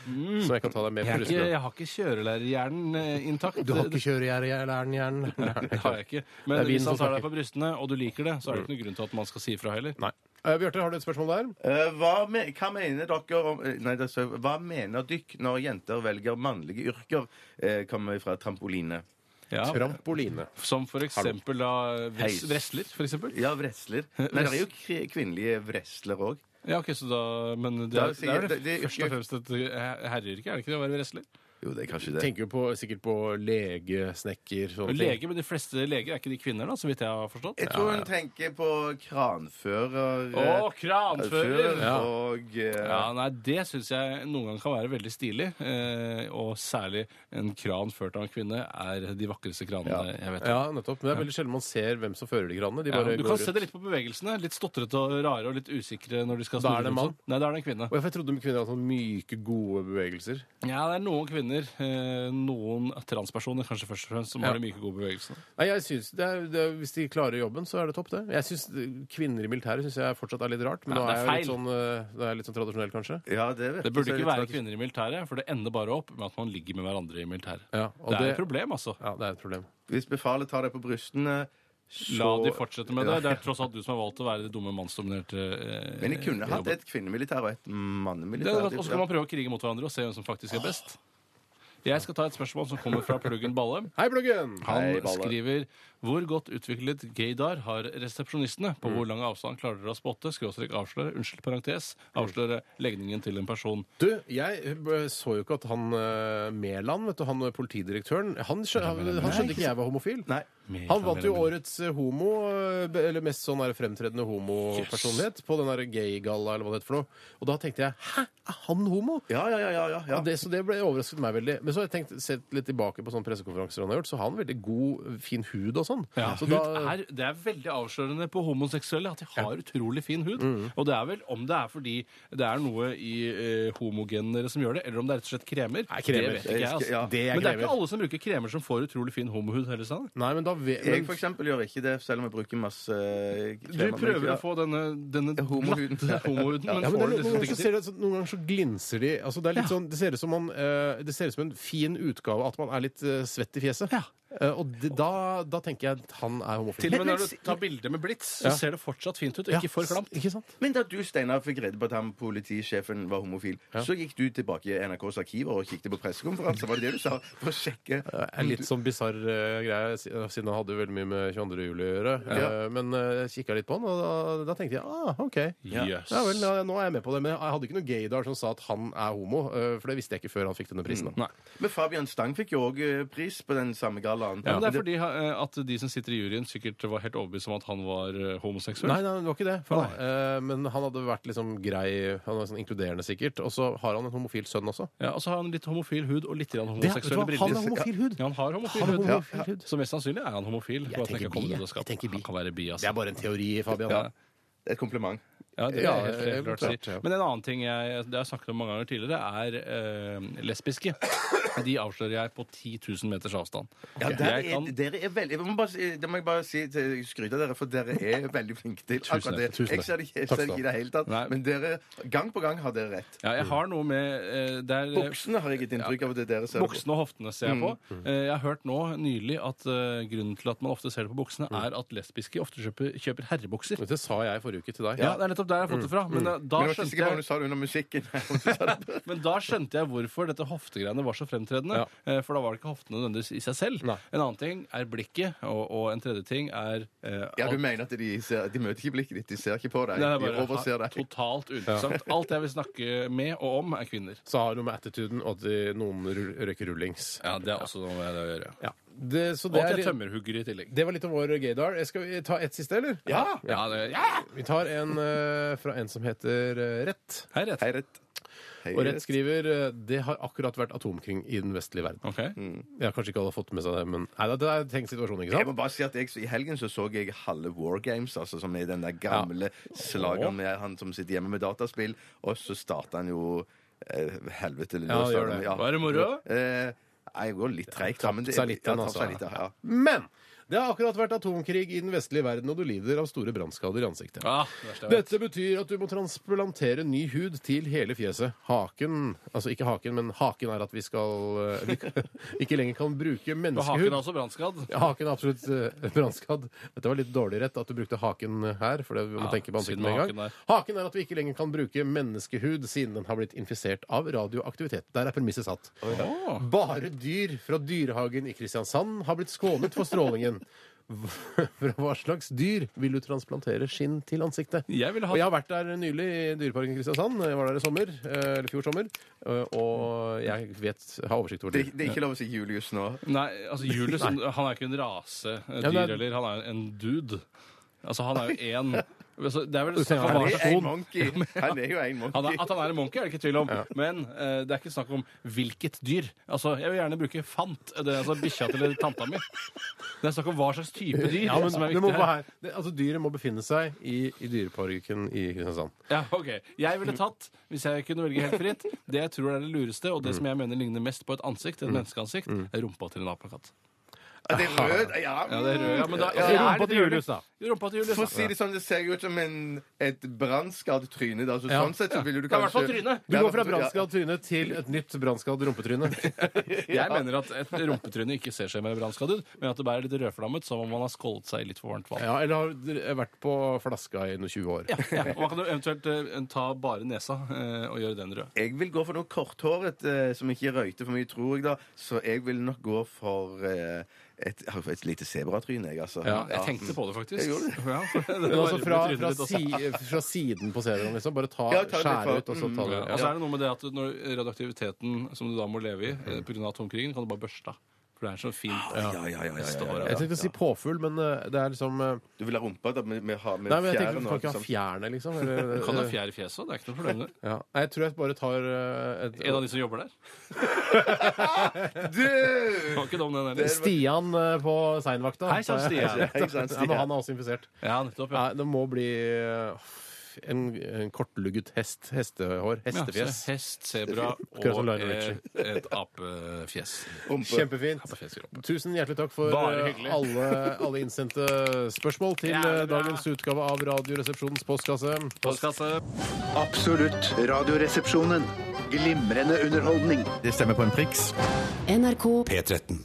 Speaker 7: Mm. Så jeg kan ta deg med
Speaker 8: Jeg,
Speaker 7: på
Speaker 8: er ikke,
Speaker 7: brystene.
Speaker 8: jeg har ikke kjørelærerhjernen eh, intakt.
Speaker 7: Du har ikke kjørelærerhjernen?
Speaker 8: Det har jeg ikke.
Speaker 7: Det
Speaker 8: Men
Speaker 7: er vinen
Speaker 8: hvis han
Speaker 7: som
Speaker 8: tar deg
Speaker 7: snakker. Mm.
Speaker 8: på brystene, og du liker det, så er det ikke noen grunn til at man skal si ifra heller.
Speaker 7: Nei. Eh, Bjarte, har du et spørsmål der?
Speaker 3: Eh, hva, me hva mener dere om eh, Nei, det er så- hva mener dykk når jenter velger mannlige yrker? Eh, kommer fra trampoline.
Speaker 7: Trampoline.
Speaker 8: Som for eksempel da eh, vres- wrestler, for eksempel?
Speaker 3: Ja, wrestler. Nei, det er jo kri- kvinnelige wrestlere òg.
Speaker 8: Ja, ok, så da, Men det
Speaker 3: Da
Speaker 8: er, det
Speaker 3: sier-
Speaker 8: er jo det,
Speaker 3: det- det-
Speaker 8: først og fremst et eh, herreyrke, er det ikke det å være wrestler?
Speaker 3: Jo, det er kanskje
Speaker 7: Jeg tenker jo på, sikkert på lege, snekker sånne Sånn ting.
Speaker 8: Lege, men de fleste leger er ikke de kvinner, da, så vidt jeg har forstått?
Speaker 3: Jeg tror hun tenker på kranfører. eh,
Speaker 8: Å, kranfører!
Speaker 3: fører Og eh,
Speaker 8: Ja, nei, Det syns jeg noen ganger kan være veldig stilig. Eh, og særlig en kran ført av en kvinne er de vakreste kranene jeg vet om.
Speaker 7: Ja, nettopp. Men det er veldig sjelden man ser hvem som fører de granene. De
Speaker 8: Ja,
Speaker 7: bare
Speaker 8: du
Speaker 7: går
Speaker 8: kan se
Speaker 7: rundt.
Speaker 8: det litt på bevegelsene. Litt stotrete og rare og litt usikre når de
Speaker 7: Da
Speaker 8: skal
Speaker 7: er
Speaker 8: snurre
Speaker 7: det
Speaker 8: rundt
Speaker 7: mann.
Speaker 8: sånn. Nei, da er det en kvinne.
Speaker 7: Og jeg trodde kvinner hadde sånne myke, gode bevegelser.
Speaker 8: Ja, det er noen kvinner kjenner eh, noen transpersoner, kanskje først og fremst, som
Speaker 7: Ja.
Speaker 8: har de myke, gode bevegelsene.
Speaker 7: Nei, jeg synes det er, det er, Hvis de klarer jobben, så er det topp, det. Jeg synes, Kvinner i militæret syns jeg fortsatt er litt rart, men
Speaker 8: Ja,
Speaker 7: nå
Speaker 8: det
Speaker 7: er
Speaker 8: er
Speaker 7: jeg jo litt
Speaker 8: feil.
Speaker 7: sånn, eh, nå er jeg litt sånn tradisjonell, kanskje.
Speaker 8: det burde ikke
Speaker 3: sånn
Speaker 8: være kvinner i militæret, for det ender bare opp med at man ligger med hverandre i militæret.
Speaker 7: og
Speaker 8: det er
Speaker 7: det-
Speaker 8: et problem, altså.
Speaker 7: Ja, det er et problem.
Speaker 3: Hvis befalet tar deg på brystene, så
Speaker 8: La de fortsette med det.
Speaker 3: Ja.
Speaker 8: Det er tross alt du som har valgt å være det dumme mannsdominerte eh,
Speaker 3: Men jeg kunne hatt
Speaker 8: jobben.
Speaker 3: et kvinnemilitær og et
Speaker 8: Det
Speaker 3: mannemilitær.
Speaker 8: er godt. Og så kan man prøve å krige mot hverandre og se hvem som faktisk er best. Jeg skal ta et spørsmål som kommer fra Pluggen Balle.
Speaker 7: Hei, Pluggen!
Speaker 8: Han
Speaker 7: Hei, Balle.
Speaker 8: skriver Hvor godt utviklet gaydar har resepsjonistene?
Speaker 3: Mm.
Speaker 8: På hvor lang avstand klarer dere å spotte? Skråstrek avsløre. Unnskyld, parentes. Avsløre legningen til en person.
Speaker 7: Du, jeg eh, b- så jo ikke at han eh, Mæland, vet du, han eh, politidirektøren Han, skjø han, han skjønte ikke jeg var homofil. Han vant jo årets eh, homo, eh, be- eller mest sånn der fremtredende homopersonlighet, på den der gay-galla, eller hva det heter for noe. Og da tenkte jeg hæ, er han homo?
Speaker 3: Ja, ja, ja, ja,
Speaker 7: Og det, så det ble overrasket meg veldig. Men så har jeg tenkt, sett litt tilbake på sånne pressekonferanser han har gjort, så har han veldig god, fin hud og sånn.
Speaker 8: Ja,
Speaker 7: så
Speaker 8: hud er, det er veldig avslørende på homoseksuelle at de har utrolig fin hud.
Speaker 7: Mm.
Speaker 8: Og det er vel om det er fordi det er noe i eh, homogenene deres som gjør det, eller om det er rett og slett kremer.
Speaker 7: kremer.
Speaker 8: Det vet ikke jeg. Altså.
Speaker 7: Ja. Det er
Speaker 8: men det er
Speaker 7: kremer.
Speaker 8: ikke alle som bruker kremer som får utrolig fin homohud heller, Sanne.
Speaker 7: Nei, men da vet
Speaker 3: Jeg for eksempel gjør ikke det, selv om jeg bruker masse eh,
Speaker 8: Du
Speaker 3: kremer, men
Speaker 8: prøver
Speaker 3: ikke-
Speaker 8: å få denne, denne
Speaker 3: Homohuden.
Speaker 8: glatte homohuden, sånn men
Speaker 7: Ja, men det
Speaker 8: får
Speaker 7: er noen, noen,
Speaker 8: det liksom
Speaker 7: ganger
Speaker 8: ikke
Speaker 7: så ser
Speaker 8: til.
Speaker 7: det, så noen ganger så glinser de altså det, er litt sånn, det, ser ut som man, eh, det ser ut som en fin utgave at man er litt eh, svett i fjeset. Eh, og det, da, da tenker jeg at han er homofil.
Speaker 8: Til og med når du tar bilde med blits, så
Speaker 7: Ja.
Speaker 8: ser det fortsatt fint ut, og
Speaker 7: Ja,
Speaker 8: ikke for klamt.
Speaker 7: Ikke sant?
Speaker 3: Men da du Steinar, fikk rede på at han politisjefen var homofil, så gikk du tilbake i NRKs arkiver og kikket på pressekonferanser. Var det det du sa? For å sjekke.
Speaker 7: er litt sånn bisarr eh, greie, si- siden han hadde jo veldig mye med 22. juli å gjøre. Eh, men eh, jeg kikka litt på han, og da, da tenkte jeg ah, OK. Ja.
Speaker 8: Yes.
Speaker 7: Ja, vel, ja, nå er jeg med på det. Men jeg hadde ikke noen gaydar som sa at han er homo, eh, for det visste jeg ikke før han fikk denne prisen.
Speaker 8: Mm,
Speaker 7: da.
Speaker 3: Men Fabian Stang fikk jo òg pris på den samme gallaen.
Speaker 8: Ja, men det er fordi eh, at de som sitter i juryen, sikkert var helt overbevist om at han var eh, homoseksuell.
Speaker 7: Nei, nei, det var ikke det. For, eh, men han hadde vært liksom grei, han var sånn inkluderende sikkert. Og så har han en homofil sønn også.
Speaker 8: Ja, Og så har han litt homofil hud og litt grann
Speaker 7: Det er- vet du
Speaker 8: homoseksuelle
Speaker 7: hva? Han har homofil hud.
Speaker 8: Ja, han har homofil,
Speaker 7: Han har
Speaker 8: hud.
Speaker 7: homofil hud.
Speaker 8: Så mest sannsynlig er han homofil. for at han
Speaker 7: tenker
Speaker 8: ikke kommer
Speaker 7: bi,
Speaker 8: ut av
Speaker 7: jeg. Jeg
Speaker 8: skapet. Han kan være bi, altså.
Speaker 7: Det er bare en teori, Fabian.
Speaker 8: Ja.
Speaker 3: Et kompliment.
Speaker 8: Ja, det er
Speaker 7: Ja,
Speaker 8: helt, helt klart å
Speaker 7: Eh, eventuelt,
Speaker 8: si.
Speaker 7: ja.
Speaker 8: Men en annen ting jeg, det jeg har snakket om mange ganger tidligere, er eh, lesbiske. De avslører jeg på 10 000 meters avstand.
Speaker 3: Ja,
Speaker 8: Jeg
Speaker 3: dere er,
Speaker 8: kan-
Speaker 3: dere er veldig jeg må bare, si- Det må jeg bare si til skryte av dere, for dere er veldig flinke til
Speaker 8: Tusen
Speaker 3: akkurat det.
Speaker 8: takk, tusen
Speaker 3: Jeg ser det ikke jeg
Speaker 8: takk.
Speaker 3: ser det ikke i det hele tatt,
Speaker 8: Nei.
Speaker 3: men dere, gang på gang har dere rett.
Speaker 8: ja, jeg har noe med eh, det er,
Speaker 3: Buksene har jeg et inntrykk av at det er dere ser.
Speaker 8: Buksene og hoftene ser jeg på. Eh, Jeg har hørt nå nylig at eh, grunnen til at man ofte ser det på buksene, er at lesbiske ofte kjøper, kjøper herrebukser.
Speaker 7: Det sa jeg forrige uke til deg.
Speaker 8: Ja, det er nettopp der jeg har fått det fra. Men da, da,
Speaker 3: men jeg var ikke
Speaker 8: skjønte
Speaker 3: sikker på om
Speaker 8: jeg,
Speaker 3: du sa det under musikken.
Speaker 8: men da skjønte jeg hvorfor dette hoftegreiene var så fremtredende. eh, For da var det ikke hoftene nødvendigvis i seg selv. En annen ting er blikket, og, og en tredje ting er eh,
Speaker 3: Ja, du
Speaker 8: at-
Speaker 3: mener at de, ser, de møter ikke blikket ditt, de ser ikke på deg.
Speaker 8: Nei, det er
Speaker 3: de
Speaker 8: bare
Speaker 3: overser deg.
Speaker 8: totalt uinteressant. Alt jeg vil snakke med og om, er kvinner.
Speaker 7: Så har det noe med attituden og at de- noen rull- røyker rullings.
Speaker 8: Ja, det er også noe med det å gjøre.
Speaker 7: Ja. Det, så
Speaker 8: Og
Speaker 7: det,
Speaker 8: at
Speaker 7: er,
Speaker 8: jeg
Speaker 7: litt-
Speaker 8: tømmerhugger i tillegg.
Speaker 7: det var litt om vår gaydar. Jeg Skal vi ta ett siste, eller?
Speaker 8: Ja! Ja, det, ja!
Speaker 7: Vi tar en eh, fra en som heter eh, Rett.
Speaker 8: Hei, Rett.
Speaker 7: Og Rett skriver eh, det har akkurat vært atomkring i den vestlige verden.
Speaker 8: Ok.
Speaker 7: Ja, kanskje ikke alle har fått med seg det, men Nei, det er en tenkt situasjon, ikke sant?
Speaker 3: Mm. Jeg må bare si at jeg, I helgen så, så jeg halve War Games, altså, som er den der gamle slageren med han som sitter hjemme med dataspill, og så starter han jo eh, helvete
Speaker 7: Ja, gjør det. Var det moro?
Speaker 3: Eh, nei, det går litt treigt. da, men det-
Speaker 7: Tapt seg litt,
Speaker 3: ja,
Speaker 7: den,
Speaker 3: tapt seg
Speaker 7: altså.
Speaker 3: litt, ja. ja.
Speaker 7: Men det har akkurat vært atomkrig i den vestlige verden, og du lider av store brannskader i ansiktet.
Speaker 8: verste jeg vet.
Speaker 7: Dette betyr at du må transplantere ny hud til hele fjeset. Haken Altså ikke haken, men haken er at vi skal eh, vi kan- ikke lenger kan bruke
Speaker 8: Og haken er
Speaker 7: menneskehud.
Speaker 8: også brannskadd.
Speaker 7: Ja, Haken er absolutt eh, brannskadd. Dette var litt dårlig rett at du brukte haken her. for det vi må
Speaker 8: Ja,
Speaker 7: tenke på ansiktet med
Speaker 8: synd med
Speaker 7: en gang.
Speaker 8: haken der.
Speaker 7: Haken er at vi ikke lenger kan bruke menneskehud siden den har blitt infisert av radioaktivitet. Der er premisset satt. Bare dyr fra dyrehagen i Kristiansand har blitt skånet for strålingen. Fra hva slags dyr vil du transplantere skinn til ansiktet?
Speaker 8: Jeg ville hatt-
Speaker 7: Og jeg har vært der nylig i Dyreparken i Kristiansand. Jeg var der i sommer, eh, eller fjor sommer. eh, Og jeg vet, har oversikt over
Speaker 3: Det, det er ikke lov å si Julius nå.
Speaker 8: Nei, altså Julius
Speaker 7: Nei.
Speaker 8: han er ikke en rase eh,
Speaker 7: Ja, men
Speaker 8: dyr
Speaker 7: det er-
Speaker 8: heller. Han er en dude. Altså, han er jo én Altså, det er vel
Speaker 7: Du tenker han er
Speaker 8: forvarsel-
Speaker 7: en monkey.
Speaker 8: Ja, men-
Speaker 7: Han er jo en monkey.
Speaker 8: Han er, at han er en monkey, er det ikke tvil om.
Speaker 7: Ja.
Speaker 8: Men eh, det er ikke snakk om hvilket dyr. Altså, Jeg vil gjerne bruke fant. Det er altså bikkja til tanta mi. Det er snakk om hva slags type dyr
Speaker 7: Ja, men
Speaker 8: som er
Speaker 7: det må
Speaker 8: viktig
Speaker 7: være, det, altså, dyret må befinne seg i, i dyreparken i Kristiansand.
Speaker 8: Ja, ok. Jeg ville tatt, hvis jeg kunne velge helt fritt, det jeg tror er det lureste, og det som jeg mener ligner mest på et ansikt, et
Speaker 7: Mm.
Speaker 8: menneskeansikt,
Speaker 7: Mm.
Speaker 8: er rumpa til en apekatt.
Speaker 3: Det er rød, ja.
Speaker 8: Ja, det er rød, ja, men da-
Speaker 3: Ja,
Speaker 8: Rumpa
Speaker 3: er det
Speaker 8: til
Speaker 3: rød?
Speaker 8: Julius, da. Rumpa til Julius,
Speaker 3: For å
Speaker 8: da.
Speaker 3: si det sånn, det ser jo ut som en, et brannskadd tryne. Da. Så
Speaker 7: Ja.
Speaker 3: Sånn sett så ville du
Speaker 7: Det er i hvert
Speaker 3: kanskje
Speaker 7: fall tryne. Du
Speaker 3: Ja,
Speaker 7: går fra
Speaker 3: ja.
Speaker 7: brannskadd tryne til et nytt brannskadd rumpetryne.
Speaker 8: Jeg mener at et rumpetryne ikke ser seg mer brannskadd ut, men at det bare er litt rødflammet, som om man har skålet seg i litt for varmt vann.
Speaker 7: Ja, Eller har dere vært på flaska i noen 20 år.
Speaker 8: Ja, og Man kan jo eventuelt eh, ta bare nesa eh, og gjøre den rød.
Speaker 3: Jeg vil gå for noe korthåret eh, som ikke røyter for mye, tror jeg, da. Så jeg vil nok gå for eh, et, et lite sebratryne, jeg, altså.
Speaker 8: Ja, jeg tenkte på det, faktisk.
Speaker 3: Jeg gjorde det.
Speaker 8: Ja, for det
Speaker 7: Men
Speaker 8: var
Speaker 7: altså
Speaker 8: rød
Speaker 7: fra,
Speaker 8: trynet
Speaker 7: fra,
Speaker 8: ditt også.
Speaker 7: si, fra siden på cd liksom. Bare ta,
Speaker 3: ta
Speaker 8: Ja,
Speaker 3: det litt
Speaker 7: skjære
Speaker 3: Mm.
Speaker 7: ut,
Speaker 3: fra-
Speaker 7: og så ta det
Speaker 8: Ja, og så er det noe med det at når radioaktiviteten som du da må leve i eh, på grunn av atomkrigen, kan du bare børste av. For det er så fint.
Speaker 3: Ah, Ja, ja, ja, ja, ja,
Speaker 8: Står
Speaker 3: ja,
Speaker 8: der.
Speaker 3: ja.
Speaker 7: Jeg tenkte å si påfugl, men eh, det er liksom eh,
Speaker 3: Du vil ha rumpa da, med, med, ha- med
Speaker 7: Nei, men jeg
Speaker 3: fjæren
Speaker 7: tenker
Speaker 3: og
Speaker 7: Du kan ikke ha
Speaker 3: sånn.
Speaker 7: fjærene, liksom. Eller,
Speaker 8: Du kan ha fjær i fjeset, det er ikke noe problem. det.
Speaker 7: Ja. Nei, Jeg tror jeg bare tar eh, et,
Speaker 8: En av de som jobber der. Det var ikke dum, den heller.
Speaker 7: Stian eh, på seinvakta.
Speaker 8: Hei, sann, Stian.
Speaker 7: Ja,
Speaker 8: Hei, sann, Stian.
Speaker 7: men han er også infisert.
Speaker 8: Ja, nettopp, ja.
Speaker 7: Nei, det må bli eh, en, en kortlugget hest. Hestehår.
Speaker 8: Ja,
Speaker 7: Hestefjes.
Speaker 8: så hest, sebra
Speaker 7: Akkurat som
Speaker 8: og eh,
Speaker 7: Lionel
Speaker 8: et,
Speaker 7: Richie.
Speaker 8: et apefjes.
Speaker 7: Kjempefint. Tusen hjertelig takk for
Speaker 8: Bare
Speaker 7: eh,
Speaker 8: hyggelig.
Speaker 7: alle, alle innsendte spørsmål til eh, dagens utgave av Radioresepsjonens postkasse.
Speaker 19: Absolutt Radioresepsjonen. Glimrende underholdning.
Speaker 21: Det stemmer på en priks.
Speaker 22: NRK
Speaker 23: P13.